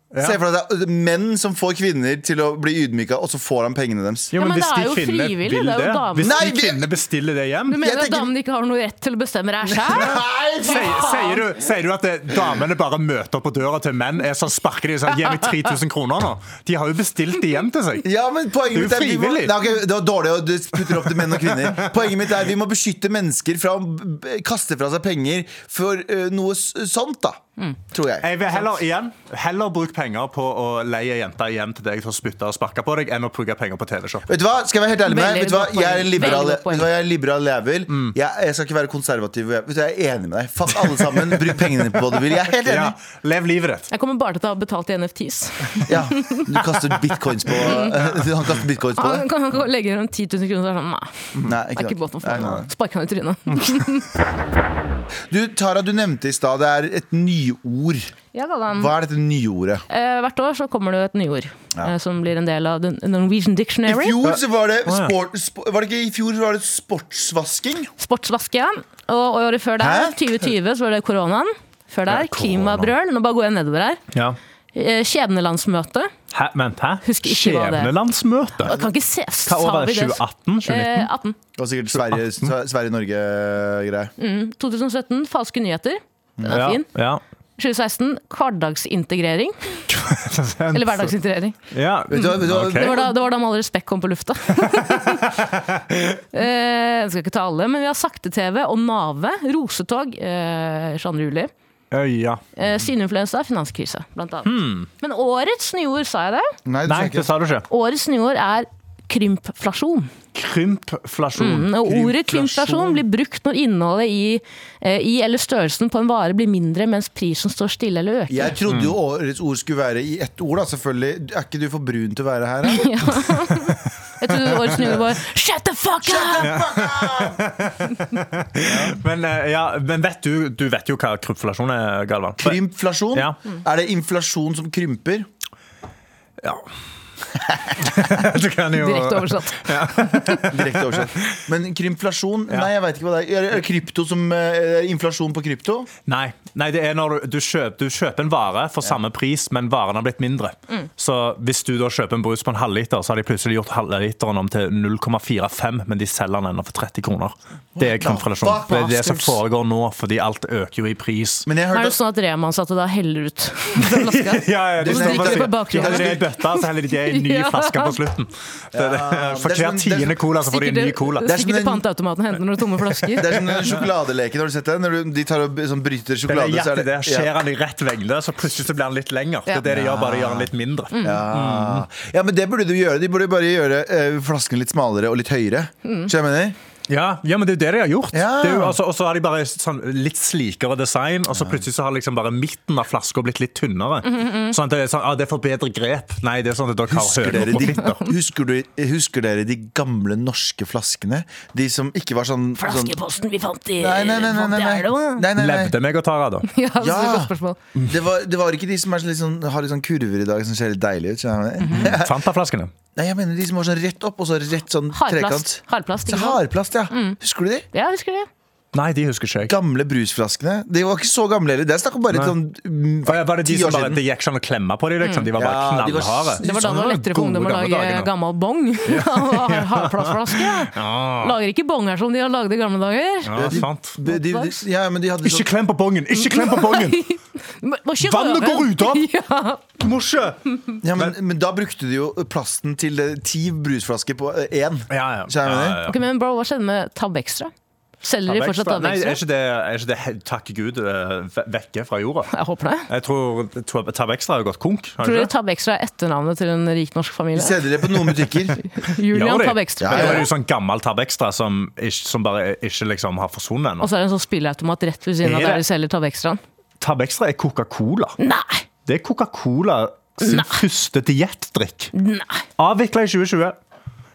Speaker 2: Se for deg det er menn som får kvinner til å bli ydmyka, og så får han pengene deres.
Speaker 4: Jo,
Speaker 3: Ja, men
Speaker 4: hvis
Speaker 3: det er
Speaker 4: de
Speaker 3: jo
Speaker 4: kvinnene
Speaker 3: frivillig,
Speaker 4: vil
Speaker 3: det er jo
Speaker 4: det,
Speaker 3: damer.
Speaker 4: Hvis
Speaker 2: Nei,
Speaker 4: de
Speaker 2: vi-
Speaker 4: kvinnene bestiller det hjem
Speaker 3: Du mener
Speaker 2: tenker-
Speaker 3: at damene ikke har noe rett til å bestemme det her sjøl?
Speaker 4: Sier, sier, du, sier du at det, damene bare møter på døra til menn er sånn sparker de og sier 'gi meg 3000 kroner' nå? De har jo bestilt det hjem til seg.
Speaker 2: Ja, men poenget mitt
Speaker 4: Det
Speaker 2: er
Speaker 4: er jo
Speaker 2: vi må,
Speaker 4: frivillig.
Speaker 2: Nei, ok, Det var dårlig å du putter opp til menn og kvinner. Poenget mitt er vi må beskytte mennesker fra å b- kaste fra seg penger for eh, noe s- sånt, da.
Speaker 3: Mm.
Speaker 2: Tror jeg.
Speaker 4: Jeg vil heller, igjen, heller bruke penger på å leie jenter hjem til deg for å spytte og sparke på deg, enn å bruke penger på TV-shop.
Speaker 2: Vet du hva? Skal jeg være helt ærlig med deg?
Speaker 3: Veldig
Speaker 2: Vet du hva? Jeg er en liberal, vet
Speaker 3: godt poeng. Veldig godt poeng. Mm.
Speaker 2: du hva? Jeg er en liberal jævel. Jeg, jeg skal ikke være konservativ. Jeg, vet du, jeg er enig med deg. Fuck alle sammen. Bruk pengene på hva du vil. Jeg er helt
Speaker 4: Ja,
Speaker 2: enig.
Speaker 4: lev livet ditt.
Speaker 3: Jeg kommer bare til å ha betalt i NFTs.
Speaker 2: Ja. Du kaster bitcoins på Han kaster bitcoins på
Speaker 3: Han
Speaker 2: deg?
Speaker 3: kan han kan legge rundt 10 000 kroner, så er det sånn nei.
Speaker 2: Nei,
Speaker 3: Det er ikke godt
Speaker 2: nok.
Speaker 3: for
Speaker 2: Nei,
Speaker 3: faen.
Speaker 2: Mm. nei, nei.
Speaker 3: Sparker han i trynet.
Speaker 2: Du, Tara, du nevnte i stad det er et nyord.
Speaker 3: Ja, da, da.
Speaker 2: Hva er dette nyordet?
Speaker 3: Eh, hvert år så kommer det jo et nyord eh, som blir en del av den Norwegian
Speaker 2: I
Speaker 3: Dictionary.
Speaker 2: fjor så var det
Speaker 4: ja.
Speaker 2: sport, sp- Var det ikke i fjor så var det sportsvasking?
Speaker 3: Sportsvaske, ja. Og året før
Speaker 2: Hæ?
Speaker 3: der, 2020, så var det koronaen. Før der,
Speaker 4: korona.
Speaker 3: klimabrøl. Nå bare går jeg nedover her.
Speaker 4: Ja.
Speaker 3: Eh, Skjebnelandsmøte.
Speaker 4: Hæ, vent, hæ?
Speaker 3: Husker ikke hva det er.
Speaker 4: Skjebnelandsmøte?
Speaker 3: Jeg kan ikke se,
Speaker 4: Hva år
Speaker 3: sa
Speaker 4: er
Speaker 3: vi
Speaker 4: det?
Speaker 3: det?
Speaker 4: 2018? 2019?
Speaker 3: Eh, 18.
Speaker 2: Det var sikkert Sverige- Sve- Sverige-Norge-greie.
Speaker 3: 2017, falske nyheter. Den er fin.
Speaker 4: ja.
Speaker 3: 2016, hverdagsintegrering. Eller Mm. hverdagsintegrering.
Speaker 4: Ja.
Speaker 2: Vet du hva- vet du hva-
Speaker 4: ok.
Speaker 3: Det var, da, det var da med all respekt kom på lufta. eh, jeg skal ikke ta alle, men vi har sakte-TV og Nave, rosetog, eh, 22. juli.
Speaker 4: Ja, ja.
Speaker 3: Eh, Syninfluensa, finanskrise, blant annet.
Speaker 4: Hmm.
Speaker 3: Men årets nyord, sa jeg det?
Speaker 2: Nei, du
Speaker 4: Nei,
Speaker 2: sa
Speaker 4: det
Speaker 2: ikke.
Speaker 4: sa du ikke.
Speaker 3: Årets nyord er krympflasjon.
Speaker 4: Krympflasjon.
Speaker 3: Mm, Og ordet krympflasjon blir brukt når innholdet i, eh, i eller størrelsen på en vare blir mindre, mens prisen står stille eller øker.
Speaker 2: Jeg trodde jo årets ord skulle være i ett ord, da, selvfølgelig. Er ikke du for brun til å være her? da?
Speaker 3: Jeg trodde årets nyord var 'shut the fuck up'!
Speaker 4: Men, eh, ja, men vet du, du vet jo hva krympflasjon er, Galvan?
Speaker 2: Krympflasjon?
Speaker 4: Ja.
Speaker 2: Er det inflasjon som krymper?
Speaker 4: Ja. du kan jo
Speaker 3: Direkte oversatt.
Speaker 2: Direkte oversett. Men krympflasjon?
Speaker 4: Ja.
Speaker 2: Nei, jeg veit ikke hva det er. Er det krypto som eh, er inflasjon på krypto?
Speaker 4: Nei, nei det er når du, du, kjøper, du kjøper en vare for samme pris, men varen har blitt mindre.
Speaker 3: Mm.
Speaker 4: Så hvis du da kjøper en brus på en halvliter, så har de plutselig gjort halvliteren om til 0,45, men de selger den ennå for 30 kroner. Det er krympflasjon.
Speaker 2: fuck,
Speaker 4: Det er det som
Speaker 2: bastards.
Speaker 4: foregår nå, fordi alt øker jo i pris.
Speaker 2: Men jeg
Speaker 3: Er
Speaker 2: hørte
Speaker 3: det sånn at Rema-ansatte da heller ut flaska?
Speaker 4: Ja, ja, de
Speaker 2: Men
Speaker 4: står
Speaker 2: de
Speaker 4: bare-
Speaker 2: drikker
Speaker 3: på bakgrunnen.
Speaker 4: de heller det i bøtta, så heller de det i en ny
Speaker 3: Ja.
Speaker 4: flaske på slutten. Det, er
Speaker 2: Ja,
Speaker 4: det. For
Speaker 2: Ah, det er som-
Speaker 4: hver
Speaker 2: det er-
Speaker 4: tiende cola så får de en ny cola.
Speaker 2: Det er som
Speaker 3: Stikker til
Speaker 2: en-
Speaker 3: panteautomaten og henter noen tomme flasker.
Speaker 2: det er sånn en sjokoladeleke, har du sett det? Når du, de tar og b- sånn, bryter
Speaker 4: Den
Speaker 2: sjokolade, så er
Speaker 4: er hjertet
Speaker 2: det
Speaker 4: der, skjer han i rett vengde, så plutselig så blir han litt lenger. Det er det de gjør, bare de gjør han litt mindre.
Speaker 3: Mm.
Speaker 4: Ah.
Speaker 2: Ja. Mm. ja, men det burde du gjøre. De burde bare gjøre eh, flasken litt smalere og litt høyere.
Speaker 4: Mm.
Speaker 2: Skjønner du hva jeg mener?
Speaker 4: Ja, ja, men det er jo det de har gjort.
Speaker 2: Ja.
Speaker 4: Det er jo, altså, og så har de bare sånn, litt slikere design, og så plutselig så har liksom bare midten av flaska blitt litt
Speaker 3: Mm,
Speaker 4: tynnere. Sånn at det er sånn, ah, det er for bedre grep. Nei, det er sånn at dere har
Speaker 2: Husker dere,
Speaker 4: høner på
Speaker 2: de,
Speaker 4: fitta.
Speaker 2: husker, du, husker dere de gamle norske flaskene? De som ikke var sånn, sånn
Speaker 3: Flaskeposten vi fant i
Speaker 2: Nei, nei, nei. nei, nei, nei. nei, nei, nei.
Speaker 4: Levde meg og Tara, da.
Speaker 3: Ja, så det er et
Speaker 2: Ja.
Speaker 3: godt spørsmål.
Speaker 2: Det, var, det var ikke de som er sånn, litt sånn, har litt sånn kurver i dag som ser litt deilige ut. skjønner du hva jeg mener?
Speaker 4: Mhm. Fanta-flaskene.
Speaker 2: Nei, jeg mener de som har sånn rett opp og så rett sånn
Speaker 3: Hardplast.
Speaker 2: trekant.
Speaker 3: Hardplast,
Speaker 2: Så
Speaker 3: ikke sant?
Speaker 2: hardplast, ja.
Speaker 4: Mm.
Speaker 2: Husker du de?
Speaker 3: Ja, husker du det?
Speaker 4: Nei, de husker ikke jeg.
Speaker 2: Gamle brusflaskene. De var ikke så gamle heller. Det er snakk om bare
Speaker 4: Nei.
Speaker 2: sånn mm,
Speaker 4: Og ja, var det de
Speaker 2: ti
Speaker 4: som
Speaker 2: år
Speaker 4: bare,
Speaker 2: siden.
Speaker 4: det gikk sånn å klemme på dem, liksom? De var bare
Speaker 2: Ja, de var
Speaker 4: knallharde.
Speaker 2: s-
Speaker 3: Det var da det var lettere for
Speaker 2: Sånn
Speaker 4: Gode
Speaker 3: ungdom å
Speaker 4: gamle
Speaker 3: lage
Speaker 4: dager, da.
Speaker 3: gammel bong. Har- Hardplastflaske. Lager ikke bonger som de har lagd i gamle dager.
Speaker 4: Ja, sant.
Speaker 2: De, de, de, ja, men de hadde
Speaker 4: Ikke klem på bongen! Ikke klem på bongen!
Speaker 3: Men- må ikke
Speaker 4: Vannet
Speaker 3: røre.
Speaker 4: går ut av!
Speaker 3: Ja.
Speaker 4: Du må ikke!
Speaker 2: Ja, men, men da brukte du jo plasten til eh, ti brusflasker på eh, én.
Speaker 4: Ja, ja.
Speaker 2: Skjønner du hva jeg mener?
Speaker 3: Ok, men bro, hva skjedde med Tab Extra? Selger de fortsatt Tab
Speaker 4: Nei, er
Speaker 3: Extra?
Speaker 4: ikke det, er ikke det he- takk Gud eh, ve- vekke fra jorda?
Speaker 3: Jeg håper det.
Speaker 4: Jeg tror Tab- Tab Extra har gått konk. har
Speaker 3: Tror
Speaker 4: det
Speaker 3: dere
Speaker 4: ikke?
Speaker 3: Tab Extra er etternavnet til en rik norsk familie?
Speaker 2: Vi Selger det på noen butikker.
Speaker 4: Gjør
Speaker 3: Julian
Speaker 4: de?
Speaker 3: Tab Extra.
Speaker 2: Ja, ja.
Speaker 4: Det er jo sånn gammel Tab Extra som, ikke, som bare ikke liksom har forsvunnet
Speaker 3: Og
Speaker 4: ennå.
Speaker 3: så er det en sånn spilleautomat rett ved siden av
Speaker 4: Er det?
Speaker 3: der de selger Tab Extraen.
Speaker 4: Tab Extra er Coca-Cola.
Speaker 3: Nei!
Speaker 4: Det er Coca-Cola sin første diettdrikk.
Speaker 3: Nei!
Speaker 4: Avvikla i 2020.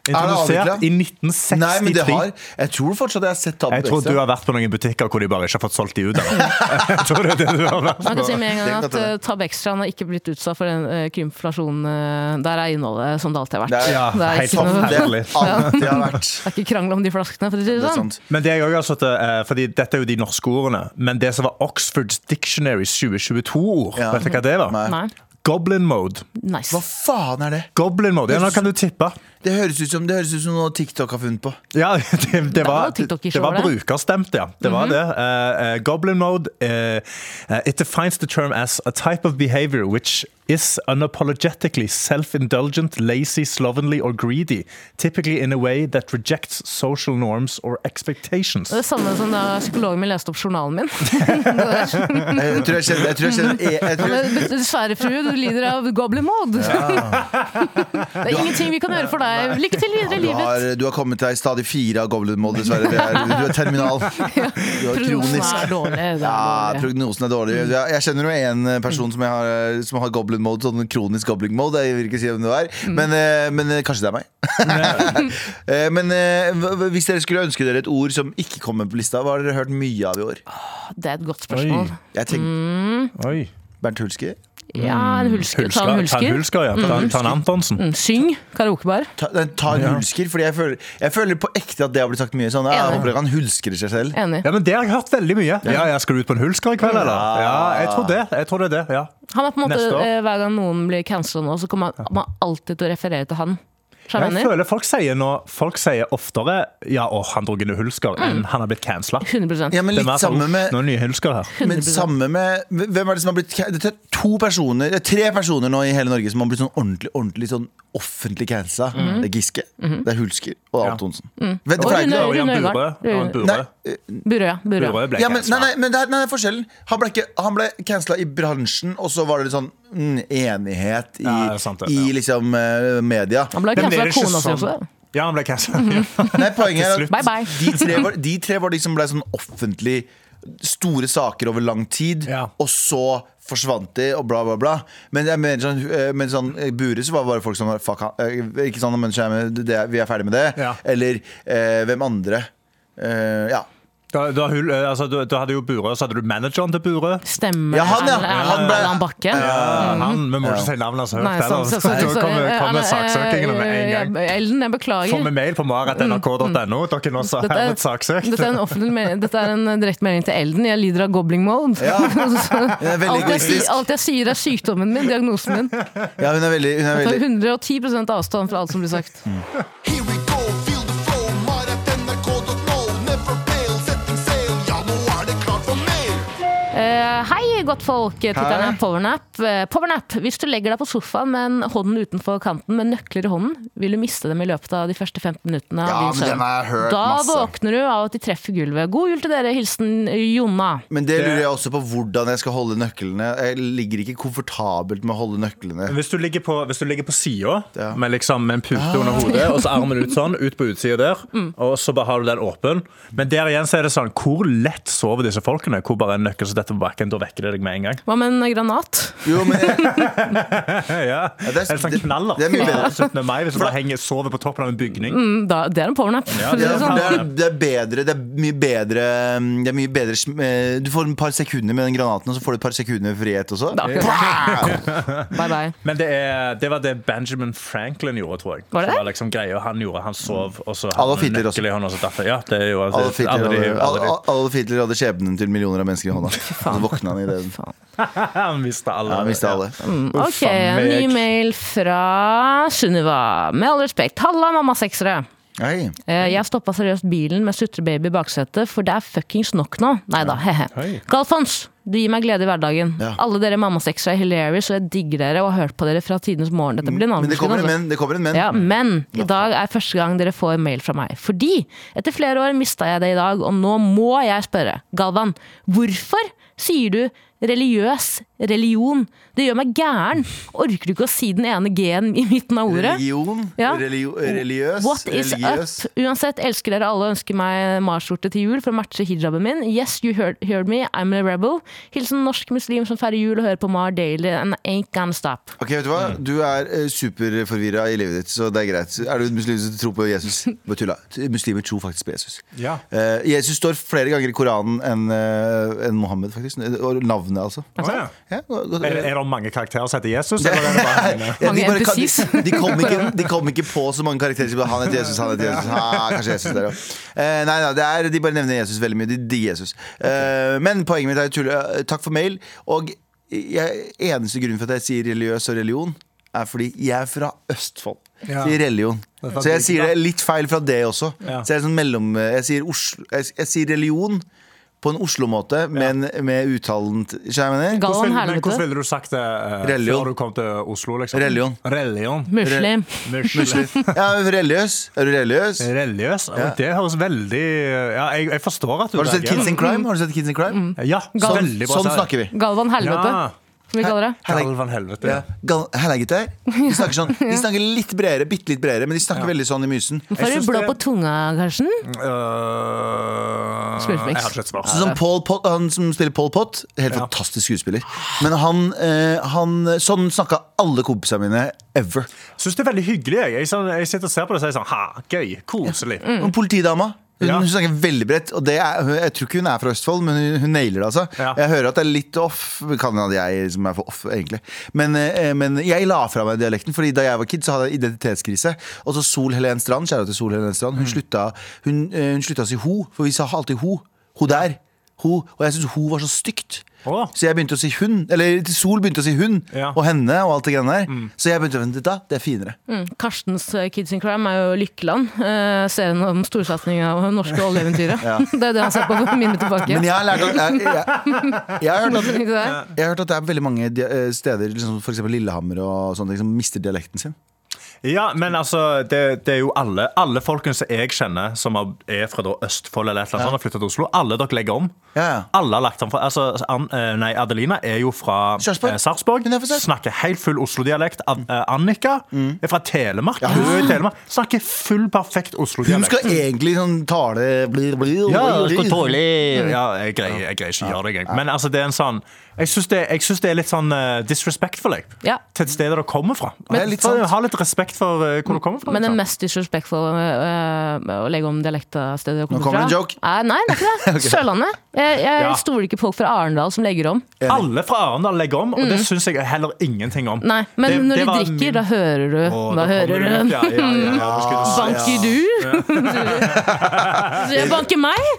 Speaker 4: Introdusert
Speaker 2: avviklet?
Speaker 4: i 1963.
Speaker 2: Nei, men det har Jeg tror fortsatt jeg har sett Tab
Speaker 4: Jeg tror du
Speaker 2: Extra.
Speaker 4: har vært på noen butikker hvor de bare ikke har fått solgt de ut. eller? Jeg tror det er det du har vært
Speaker 3: Man kan si
Speaker 4: på.
Speaker 3: med en
Speaker 2: Det
Speaker 3: gang
Speaker 2: kan
Speaker 3: at
Speaker 2: ta det.
Speaker 3: eh, Tab Extraen har ikke blitt utsatt for den eh, krympflasjonen. eh, der er innholdet som det alltid har vært.
Speaker 2: Det er- Ja,
Speaker 3: det, er
Speaker 4: helt
Speaker 3: ikke noe,
Speaker 4: sant.
Speaker 3: det
Speaker 2: Det alltid har vært.
Speaker 3: er ikke krangel om de flaskene, for å si
Speaker 2: Det
Speaker 3: det
Speaker 2: er
Speaker 3: sånn.
Speaker 2: sant.
Speaker 4: Men det jeg også har satt, eh, fordi Dette er jo de norske ordene, men det som var Oxford Dictionaries 2022-ord,
Speaker 2: Ja.
Speaker 4: vet du hva det var?
Speaker 2: Nei.
Speaker 3: Nei.
Speaker 4: Goblin mode.
Speaker 3: Nice.
Speaker 2: Hva faen er det?
Speaker 4: Goblin mode, ja, Nå kan du tippe.
Speaker 2: Det høres ut som, det høres ut som noe TikTok har funnet på.
Speaker 4: Ja, det, det,
Speaker 3: var
Speaker 4: var,
Speaker 3: jo TikTok i
Speaker 4: det var
Speaker 3: showet. Mhm.
Speaker 4: brukerstemt, ja. Det var det. Eh, eh, Goblin mode eh, eh, It defines the term as a type of behavior which is unapologetically self-indulgent, lazy, slovenly or greedy, typically in a way that rejects social norms or expectations.
Speaker 3: Det er det samme som da psykologen min leste opp journalen min.
Speaker 2: Jeg tror jeg kjenner, jeg tror jeg kjenner, E- jeg, jeg tror jeg,
Speaker 3: Dessverre, frue, du lider av goblin mode. det er ingenting vi kan gjøre for deg. Lykke til videre i
Speaker 2: du, har,
Speaker 3: livet.
Speaker 2: du har kommet deg stadig fire av Goblin Mall, dessverre. Det er, du er terminal. Du er
Speaker 3: Prognosen
Speaker 2: kronisk.
Speaker 3: er dårlig. Det
Speaker 2: Ja,
Speaker 3: er dårlig.
Speaker 2: prognosen er dårlig.
Speaker 4: Mm.
Speaker 2: Jeg, jeg kjenner jo en eh, person som, jeg har, eh, som har goblin mode, sånn kronisk goblin mode. Jeg vil ikke si hvem det er,
Speaker 4: Mm.
Speaker 2: men, eh, men eh, kanskje det er meg. Eh, men eh, hva- hva- hvis dere skulle ønske dere et ord som ikke kommer på lista, hva har dere hørt mye av i år?
Speaker 3: Det er et godt spørsmål.
Speaker 4: Oi.
Speaker 2: Jeg
Speaker 4: Mm.
Speaker 2: tenker
Speaker 4: Oi.
Speaker 2: Bernt Hulske.
Speaker 3: Ja, en
Speaker 2: Mm.
Speaker 3: hulsker. Ta en
Speaker 4: Ta en
Speaker 3: hulsker.
Speaker 4: hulsker, ja. Ta, ta en Antonsen.
Speaker 3: Mm, Syng karaokebar.
Speaker 2: Ta, nei, ta en hulsker, fordi jeg føler, jeg føler på ekte at det har blitt sagt mye sånn. Jeg
Speaker 3: Enig.
Speaker 2: håper ikke han hulsker seg selv.
Speaker 3: Enig.
Speaker 4: Ja, men Det har jeg hørt veldig mye. Ja, jeg Skal du ut på en hulsker i kveld, eller? Ja, jeg tror det. Jeg tror det er det, ja.
Speaker 3: Han er på en måte,
Speaker 4: Neste år.
Speaker 3: eh, Hver gang noen blir cancela nå, så kommer han man alltid til å referere til han.
Speaker 4: Jeg
Speaker 3: Skjønner du?
Speaker 4: føler folk sier, nå, folk sier oftere ja, å, han dro inn i hulsker
Speaker 3: Mm.
Speaker 4: enn han har blitt cancela.
Speaker 3: 100
Speaker 2: Ja, men
Speaker 4: Det er
Speaker 2: litt
Speaker 4: mer sånn,
Speaker 2: samme med
Speaker 4: Noen nye hulsker her.
Speaker 2: Men samme med Hvem er det som har blitt Det er to personer det er Tre personer nå i hele Norge Som har blitt sånn ordentlig Ordentlig sånn offentlig cancela
Speaker 3: Mhm.
Speaker 2: Det er Giske Det er Hulsker Og det er
Speaker 4: Ja.
Speaker 2: Antonsen Vet du
Speaker 3: Og
Speaker 2: hva jeg
Speaker 3: Rune-
Speaker 2: ikke
Speaker 4: Og Jan
Speaker 3: Rune
Speaker 4: Bure.
Speaker 3: Øygard.
Speaker 4: Jan Bure.
Speaker 2: Nei,
Speaker 3: Burø, ja. Burø.
Speaker 4: Bure ble
Speaker 2: ja, men, nei,
Speaker 4: cancela.
Speaker 2: nei, men det er, nei, det er forskjellen Han ble, ikke, han ble cancela i bransjen Og så var det litt sånn mm, enighet i,
Speaker 4: Ja, det er sant det,
Speaker 2: i
Speaker 4: ja.
Speaker 2: liksom eh, media
Speaker 3: Han ble
Speaker 4: Den
Speaker 3: cancela
Speaker 4: blir
Speaker 3: av
Speaker 4: ikke
Speaker 3: kona altså. Mhm. si
Speaker 4: sånn-
Speaker 3: også.
Speaker 4: Ja, han ble cancela.
Speaker 2: Nei, poenget er
Speaker 4: Til
Speaker 2: at
Speaker 4: slutt.
Speaker 3: Bye, bye.
Speaker 2: de tre, var, de tre var de som ble sånn offentlig store saker over lang tid,
Speaker 4: Ja.
Speaker 2: og så forsvant de, og bla, bla, bla. Men jeg mener sånn, eh, men sånn eh, Bure så var det bare folk som var Fuck han. eh, Ikke sånn, men skjermen, det, vi er ferdig med det.
Speaker 4: Ja.
Speaker 2: Eller eh, hvem andre. Eh, ja.
Speaker 4: Da, da, hul- eh, altså, da, da hadde jo Bure, så hadde du manageren til Bure.
Speaker 3: Stemmer
Speaker 2: Ja, han, ja. Han ble-
Speaker 3: Erland Bakke.
Speaker 4: Ja, han, vi må ikke si navnet hans høyt.
Speaker 3: Mhm. Nei,
Speaker 4: heller,
Speaker 3: sånn,
Speaker 4: så
Speaker 3: så- så-
Speaker 4: Da
Speaker 3: sorry.
Speaker 4: kommer, kommer
Speaker 3: Eh,
Speaker 4: saksøkingene med en gang.
Speaker 3: eh, Ellen, jeg
Speaker 4: Få
Speaker 3: beklager.
Speaker 4: med mail på mar.nrk.no. Dere nå så
Speaker 3: Mm. Dette er,
Speaker 4: herved saksøkt.
Speaker 3: dette er en, offentlig me- dette er en eh, direkte melding til Elden. Jeg lider av gobbling mode.
Speaker 2: Hun er veldig
Speaker 3: alt, jeg, si-
Speaker 2: egoistisk.
Speaker 3: alt jeg sier, er sykdommen min, diagnosen min.
Speaker 2: Ja, hun er veldig, hun er
Speaker 3: Jeg tar
Speaker 2: veldig
Speaker 3: 110 avstand fra alt som blir sagt.
Speaker 7: Here we go, feel the flow, mar at nrk.no. Never fail, setting sail, ja nå er det klart for mer.
Speaker 3: Eh, hei, godtfolk. Tittelen
Speaker 2: Hei.
Speaker 3: er Powernap. Eh, Powernap. Hvis du legger deg på sofaen med en hånden utenfor kanten med nøkler i hånden, vil du miste dem i løpet av de første 15 minuttene av
Speaker 2: Ja,
Speaker 3: din
Speaker 2: men
Speaker 3: søvn.
Speaker 2: den har jeg hørt
Speaker 3: Da
Speaker 2: masse.
Speaker 3: våkner du av at de treffer gulvet. God jul til dere. Hilsen Jonna.
Speaker 2: Men det lurer jeg også på hvordan jeg skal holde nøklene. Jeg ligger ikke komfortabelt med å holde nøklene.
Speaker 4: Hvis du ligger på, hvis du ligger på sida
Speaker 2: Ja.
Speaker 4: med, liksom, med en pute under
Speaker 3: Ah.
Speaker 4: hodet, og så armen ut sånn, ut på utsida der,
Speaker 3: Mm.
Speaker 4: og så bare har du den åpen Men der igjen så er det sånn Hvor lett sover disse folkene? Hvor bare en nøkkel som detter på bakken, da vekker det deg med en gang.
Speaker 3: Hva med en granat?
Speaker 2: Jo, men jeg,
Speaker 4: Ja,
Speaker 2: det er-
Speaker 4: Eller sånn
Speaker 2: det-
Speaker 4: knaller.
Speaker 2: det er mye bedre.
Speaker 4: 17. mai, hvis du bare henger, sover på toppen av en bygning.
Speaker 3: Mm, Da, det er en powernap. for å si
Speaker 2: Ja, for
Speaker 3: det sånn.
Speaker 2: det, er, det er bedre Det er mye bedre, mm, det er mye bedre sm- eh, Du får et par sekunder med den granaten Og så får du et par sekunder frihet også
Speaker 3: Det er akkurat det. Bye bye.
Speaker 4: Men det, er, det var det Benjamin Franklin gjorde, tror jeg.
Speaker 3: Var det?
Speaker 4: Som var liksom greia han gjorde. Han sov, og så hadde
Speaker 2: Adolf
Speaker 4: han en
Speaker 2: Hitler
Speaker 4: nøkkel
Speaker 2: også.
Speaker 4: i hånda, så derfor- Ja, det er jo alle
Speaker 2: Adolf
Speaker 4: de-
Speaker 2: Hitler,
Speaker 4: alle de-
Speaker 2: hadde,
Speaker 4: alle de-
Speaker 2: Al- Adolf Hitler hadde skjebnen til millioner av mennesker i hånda Så våkna han i den
Speaker 3: Faen. Mm.
Speaker 4: Han mistet alle.
Speaker 2: Ja, han mistet alle
Speaker 3: Ok,
Speaker 4: faen
Speaker 3: en
Speaker 4: meg.
Speaker 3: ny mail fra Sunniva. Med all respekt. Halla, mamma seksere.
Speaker 2: Hei.
Speaker 3: Eh, Jeg stoppa seriøst bilen med sutrebaby i baksetet, for det er fuckings nok nå. Nei da, he-he.
Speaker 4: Hei.
Speaker 3: Galfons, du gir meg glede i hverdagen.
Speaker 2: Ja.
Speaker 3: Alle dere mammaseksere er hilarious, og jeg digger dere og har hørt på dere fra tidenes morgen. Dette blir en annen
Speaker 2: Mm. Men det kommer en
Speaker 3: altså.
Speaker 2: menn, det kommer en menn
Speaker 3: Ja, men i dag er første gang dere får mail fra meg. Fordi etter flere år mista jeg det i dag, og nå må jeg spørre. Galvan, hvorfor sier du religiøs religion? Det gjør meg gæren. Orker du ikke å si den ene g-en i midten av ordet?
Speaker 2: Religion,
Speaker 3: Ja.
Speaker 2: relio, religiøs
Speaker 3: What is
Speaker 2: religiøs.
Speaker 3: up? Uansett, elsker dere alle og ønsker meg Mars-skjorte til jul for å matche hijaben min. Yes, you heard, heard me, I'm a rebel. Hilsen norsk muslim som feirer jul og hører på Mar Daily and I ain't gonna stop.
Speaker 2: Ok, vet du hva?
Speaker 3: Mm.
Speaker 2: Du er eh, superforvirra i livet ditt, så det er greit. Er du muslim som tror på Jesus? Bare tulla. Muslimer tror faktisk på Jesus.
Speaker 4: Ja.
Speaker 2: Eh, Jesus står flere ganger i Koranen enn eh, enn Mohammed, faktisk. Og navnet, altså.
Speaker 4: Å, ja.
Speaker 2: Ja, godt- godt-
Speaker 4: Er, er det mange karakterer som heter Jesus? Eller er det bare henne?
Speaker 2: Ja, de,
Speaker 3: Mange
Speaker 2: bare,
Speaker 3: NPCs.
Speaker 2: de, de, kom ikke, de kom ikke på så mange karakterer som bare, han heter Jesus, han heter Jesus. Ah, kanskje Jesus der også. Eh, nei, nei, det er, de bare nevner Jesus veldig mye. De digger Jesus. Eh, men poenget mitt er tull. eh, Takk for mail. Og jeg, Eneste grunnen for at jeg sier religiøs og religion, er fordi jeg er fra Østfold.
Speaker 8: Ja.
Speaker 2: Sier religion.
Speaker 8: Det er
Speaker 2: Så jeg
Speaker 8: faktisk
Speaker 2: sier
Speaker 8: bra.
Speaker 2: det litt feil fra det også.
Speaker 8: Ja.
Speaker 2: Så jeg, er sånn mellom, jeg, sier Oslo, jeg, jeg sier religion på en Oslo-måte, men med uttalen til- Skjønner jeg hva jeg mener?
Speaker 3: Galvan
Speaker 4: Hvordan, vil- men
Speaker 3: helvete.
Speaker 4: hvordan ville du sagt det eh,
Speaker 2: Religion.
Speaker 4: før du kom til Oslo? Liksom?
Speaker 2: Religion.
Speaker 4: Religion.
Speaker 3: Muslim.
Speaker 4: Muslim.
Speaker 2: Ja, men religiøs. Er du religiøs?
Speaker 4: Religiøs? Ja. Det høres veldig Ja, jeg, jeg forstår at du
Speaker 2: Har du sett
Speaker 4: velger.
Speaker 2: Kids in Crime? Har du sett Kids in Crime?
Speaker 4: Ja,
Speaker 3: Gal-
Speaker 4: Mm. veldig bra
Speaker 2: Sånn snakker vi.
Speaker 3: Galvan helvete,
Speaker 4: Ja.
Speaker 3: som vi kaller det.
Speaker 4: Galvan helvete.
Speaker 2: Ja. Gal- Hella, gutter. De snakker sånn De snakker litt bredere, bitte litt bredere, men de snakker veldig sånn i mysen.
Speaker 4: Jeg
Speaker 3: Får du
Speaker 4: syns
Speaker 3: blå
Speaker 4: det-
Speaker 3: på tunga, Karsten?
Speaker 4: Øh, jeg
Speaker 3: Smurfmiks.
Speaker 4: har ikke et svar.
Speaker 2: Så Sånn som Paul Pot, han som spiller Paul Pot, helt fantastisk skuespiller. Men han, eh, han Sånn snakka alle kompisene mine ever.
Speaker 4: Syns det er veldig hyggelig. Jeg, jeg, sånn- jeg sitter og ser på det og sier sånn ha, gøy, koselig.
Speaker 2: Og Politidama. Hun,
Speaker 4: Mm. Ja.
Speaker 2: hun snakker veldig bredt. Og det er, hun- jeg tror ikke hun er fra Østfold, men hun, hun nailer det. altså
Speaker 4: Ja.
Speaker 2: Jeg hører at det er litt off. Kan hende jeg som er for off, egentlig. Men, eh, men jeg la fra meg dialekten, Fordi da jeg var kid, så hadde jeg identitetskrise. Og så Sol Helen Strand, kjære til Sol Helen Strand,
Speaker 4: Mm.
Speaker 2: hun, slutta, hun, eh, hun slutta å si ho, for vi sa alltid ho. Ho der. Ho. Og jeg syntes ho var så stygt.
Speaker 4: Å.
Speaker 2: Så jeg begynte å si hun, eller Sol begynte å si hun
Speaker 4: Ja. Mm.
Speaker 2: og henne og alt det greiene der. Så jeg begynte å vente, da, det er finere.
Speaker 3: Mm. Karstens eh, Kids in Crime er jo Lykkeland. Eh, serien om storsatsingen av norske oljeeventyret. Det er det han ser på for mine tilbake.
Speaker 2: Men jeg har lært at jeg, jeg, jeg har hørt at
Speaker 3: Ikke det?
Speaker 2: Jeg har hørt at det er veldig mange dia- eh, steder, liksom for eksempel Lillehammer og sånne ting, som mister dialekten sin.
Speaker 4: Ja, men altså, det, det er jo alle Alle folkene som jeg kjenner, som har- er fra da Østfold eller et eller annet sånt, har flytta til Oslo. Alle dere legger om.
Speaker 2: Ja, ja.
Speaker 4: Alle har lagt om fra, altså, An, eh, nei, Adelina er jo fra
Speaker 2: Sarpsborg.
Speaker 4: eh, Sarpsborg.
Speaker 2: Hun er fra Sarpsborg. Mm.
Speaker 4: Snakker helt full Oslo-dialekt. An- eh, Annika er fra Telemark. Hun er i Telemark. Snakker full perfekt
Speaker 2: Hun
Speaker 4: Oslo-dialekt.
Speaker 2: skal egentlig sånn tale bli, bli, bli,
Speaker 4: Ja, jeg skal
Speaker 2: bli.
Speaker 4: tåle Mm. ja, jeg, greier, jeg greier ikke å gjøre det engang. Men altså, det er en sånn Jeg syns det, jeg synes det er litt sånn eh, disrespectful jeg,
Speaker 3: Ja.
Speaker 4: til et sted dere kommer fra.
Speaker 2: Men-
Speaker 4: litt sånn, ha litt respekt for eh, hvor du kommer fra.
Speaker 3: Men det
Speaker 4: liksom.
Speaker 3: mest disrespectful eh, å legge om dialekta stedet jeg
Speaker 2: Nå
Speaker 3: kommer
Speaker 2: kommer
Speaker 3: fra
Speaker 2: en joke.
Speaker 3: er- Nei, det er ikke det. Sørlandet. Jeg, jeg
Speaker 4: Ja.
Speaker 3: stoler ikke på folk fra Arendal som legger om.
Speaker 4: Alle fra Arendal legger om, og det syns jeg heller ingenting om.
Speaker 3: Mm. Nei, men
Speaker 4: Det-
Speaker 3: når
Speaker 4: det
Speaker 3: de
Speaker 4: var
Speaker 3: drikker,
Speaker 4: min-
Speaker 3: da hører du. da
Speaker 4: Å, da kommer
Speaker 3: hører
Speaker 4: du
Speaker 3: du.
Speaker 4: ut, ja, ja, ja, ja, du skulle-
Speaker 3: Banker du? Så jeg banker meg?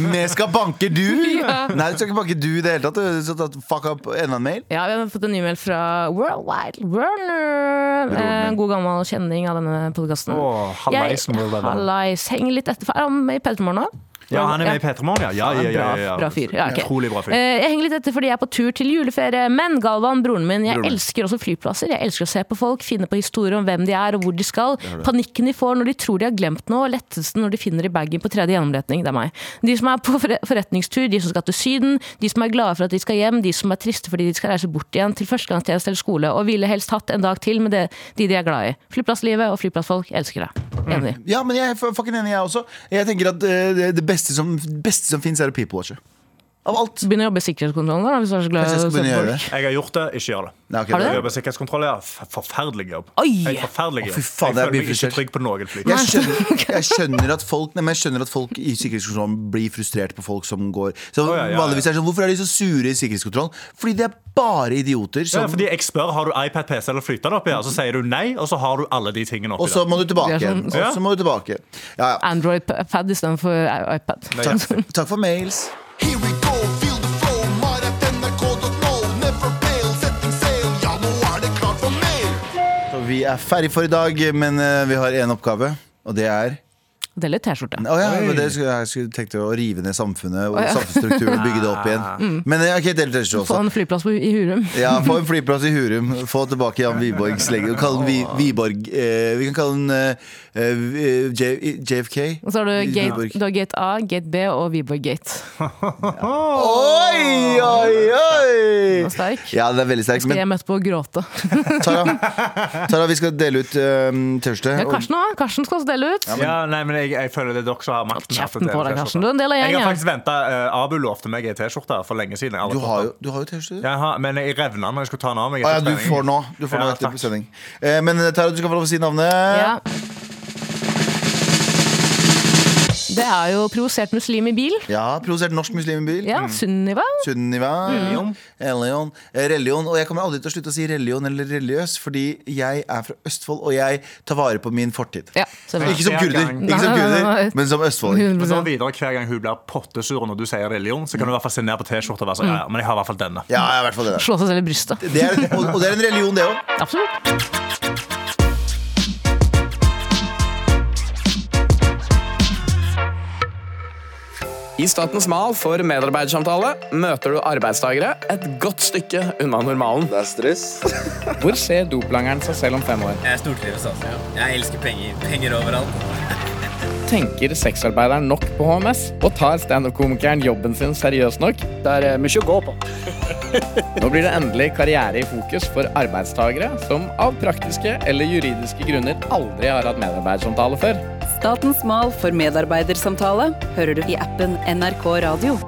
Speaker 2: Vi skal banke du! Nei, du skal ikke banke du i det hele tatt. du. Så tatt- Fuck up enda en mail.
Speaker 3: Ja, vi har fått en ny mail fra Worldwide Werner. Eh, En god gammel kjenning av denne podkasten.
Speaker 4: Å, hallais, World Wide Werner.
Speaker 3: Hallais. Henger litt etter. Er han med i P3 Morgen nå?
Speaker 4: Ja, han er med i P3 Morgen, ja. Ja, ja, ja, ja,
Speaker 3: Bra,
Speaker 4: ja.
Speaker 3: bra fyr. Ja, ok.
Speaker 4: Utrolig bra fyr.
Speaker 3: Eh, Jeg henger litt etter fordi jeg er på tur til juleferie. Men Galvan, broren min, jeg elsker også flyplasser. Jeg elsker å se på folk, finne på historier om hvem de er og hvor de skal. Panikken de får når de tror de har glemt noe, og lettelsen når de finner i bagen på tredje gjennomretning. Det er meg. De som er på forre- forretningstur, de som skal til Syden, de som er glade for at de skal hjem, de som er triste fordi de skal reise bort igjen til førstegangstjeneste eller skole, og ville helst hatt en dag til med det, de de er glad i. Flyplasslivet og flyplassfolk, jeg elsker det. Enig.
Speaker 2: Ja, men jeg er f- fucking enig, jeg også. Jeg tenker at eh, det, det beste som, beste som fins, er å people-watcher. Av alt.
Speaker 3: Begynn å jobbe i sikkerhetskontrollen, da, hvis du er så glad
Speaker 2: Kanskje
Speaker 3: i
Speaker 2: jeg
Speaker 3: å
Speaker 2: skal
Speaker 3: se
Speaker 2: begynne å
Speaker 3: på
Speaker 2: gjøre
Speaker 3: folk.
Speaker 2: det.
Speaker 4: Jeg har gjort det, ikke gjør det.
Speaker 2: Nei, ok,
Speaker 3: Har du
Speaker 4: Jeg
Speaker 3: det?
Speaker 4: jobber sikkerhetskontroll, ja. F- Forferdelig jobb.
Speaker 3: Oi!
Speaker 4: Jeg, forferdelig
Speaker 2: Å,
Speaker 4: jobb.
Speaker 2: fy faen,
Speaker 4: jeg
Speaker 2: jeg blir
Speaker 4: føler meg ikke
Speaker 2: frustrert.
Speaker 4: trygg på noen fly.
Speaker 2: Jeg skjønner, jeg skjønner at folk Nei, men jeg skjønner at folk i sikkerhetskontrollen blir frustrert på folk som går Så
Speaker 4: ja, ja, ja.
Speaker 2: vanligvis er det sånn, Hvorfor er de så sure i sikkerhetskontrollen? Fordi de er bare idioter.
Speaker 4: Ja,
Speaker 2: Som,
Speaker 4: fordi jeg spør har du iPad, PC eller flytende oppi her, så sier du nei, og så har du alle de tingene
Speaker 2: og
Speaker 4: oppi
Speaker 2: så
Speaker 4: der.
Speaker 2: må du tilbake
Speaker 3: Det er
Speaker 2: igjen.
Speaker 3: sånn-
Speaker 2: Og
Speaker 4: Ja.
Speaker 2: så må du tilbake. Ja, ja.
Speaker 3: Android-pad istedenfor iPad.
Speaker 2: Takk, takk for mails.
Speaker 7: Here we go, feel the flow, maratnrk.no. Never fail, setting sail, ja, nå er det klart for mer.
Speaker 2: Så vi er ferdig for i dag, men eh, vi har én oppgave, og det er
Speaker 3: Del litt T-skjorte.
Speaker 2: Å ja, men det skulle, jeg skulle tenkt å rive ned samfunnet og samfunnsstrukturen og bygge det opp igjen. Men eh, ok, del til også.
Speaker 3: Mm. Få en flyplass på, i Hurum.
Speaker 2: Ja, få en flyplass i Hurum. Få tilbake Jan Wiborgs legge. Kall den Vi, Wiborg eh, Vi kan kalle den eh, eh, J, JFK.
Speaker 3: Og så har du gate,
Speaker 2: Wiborg.
Speaker 3: du har gate A, Gate B og Viborg Gate.
Speaker 2: Oi, oi,
Speaker 3: Den er
Speaker 2: oi!
Speaker 3: Sterk.
Speaker 2: Ja, det er veldig sterkt.
Speaker 3: Skal
Speaker 2: Men
Speaker 3: jeg møte på å gråte.
Speaker 2: Tara, Tara vi skal dele ut uh, tørste.
Speaker 3: Ja, Karsten òg. Karsten skal også dele ut.
Speaker 4: Ja, nei, men jeg, jeg føler det er dere som har makten. her for
Speaker 3: Kjeften på deg,
Speaker 4: T-skjorta.
Speaker 3: Karsten. Du er en del av
Speaker 4: Jeg har
Speaker 3: gjengen.
Speaker 4: faktisk venta. Abu lovte meg ei T-skjorte for lenge siden. Jeg
Speaker 2: Du
Speaker 4: aldri fått
Speaker 2: har
Speaker 4: den.
Speaker 2: jo, du har jo tørste.
Speaker 4: Jeg har, men jeg revna når jeg skulle ta den av meg.
Speaker 2: Ah, ja,
Speaker 4: etter
Speaker 2: du
Speaker 4: trening.
Speaker 2: får nå. Du får nå
Speaker 4: Ja,
Speaker 2: etter
Speaker 4: takk.
Speaker 2: sending. Eh, men eh, Tara, du skal få lov å si navnet.
Speaker 3: Ja. Det er jo provosert muslim i bil.
Speaker 2: Ja, Produsert norsk muslim i bil.
Speaker 3: Ja, Sunniva.
Speaker 2: Sunniva.
Speaker 4: Religion.
Speaker 2: Religion. Eh, religion. Og jeg kommer aldri til å slutte å si religion eller religiøs, fordi jeg er fra Østfold, og jeg tar vare på min fortid.
Speaker 3: Ja, selvfølgelig.
Speaker 2: Ikke som
Speaker 4: Ja,
Speaker 2: kurder,
Speaker 4: gang.
Speaker 2: ikke som
Speaker 3: Nei, nei, nei,
Speaker 2: kurder
Speaker 3: nei.
Speaker 2: men som østfolding.
Speaker 4: Men så Mm. videre Hver gang hun blir pottesur når du sier religion, så kan du i hvert fall se ned på T-skjorta og være sånn, ja, ja, men jeg har i hvert fall denne.
Speaker 2: Ja, i hvert fall det der.
Speaker 3: Slå seg selv i brystet.
Speaker 2: Det er, og, og det er en religion, det òg.
Speaker 3: Absolutt.
Speaker 8: I Statens Mal for medarbeidersamtale møter du arbeidstakere et godt stykke unna normalen. Det er stress. Hvor ser doplangeren seg selv om fem år?
Speaker 5: Jeg stortrives, altså. Jeg elsker penger. Penger overalt.
Speaker 8: Tenker sexarbeideren nok på HMS? Og tar standup-komikeren jobben sin seriøst nok? Det er eh, mye å gå på. Nå blir det endelig karriere i fokus for arbeidstakere som av praktiske eller juridiske grunner aldri har hatt medarbeidersamtale før.
Speaker 1: Statens mal for medarbeidersamtale hører du i appen NRK Radio.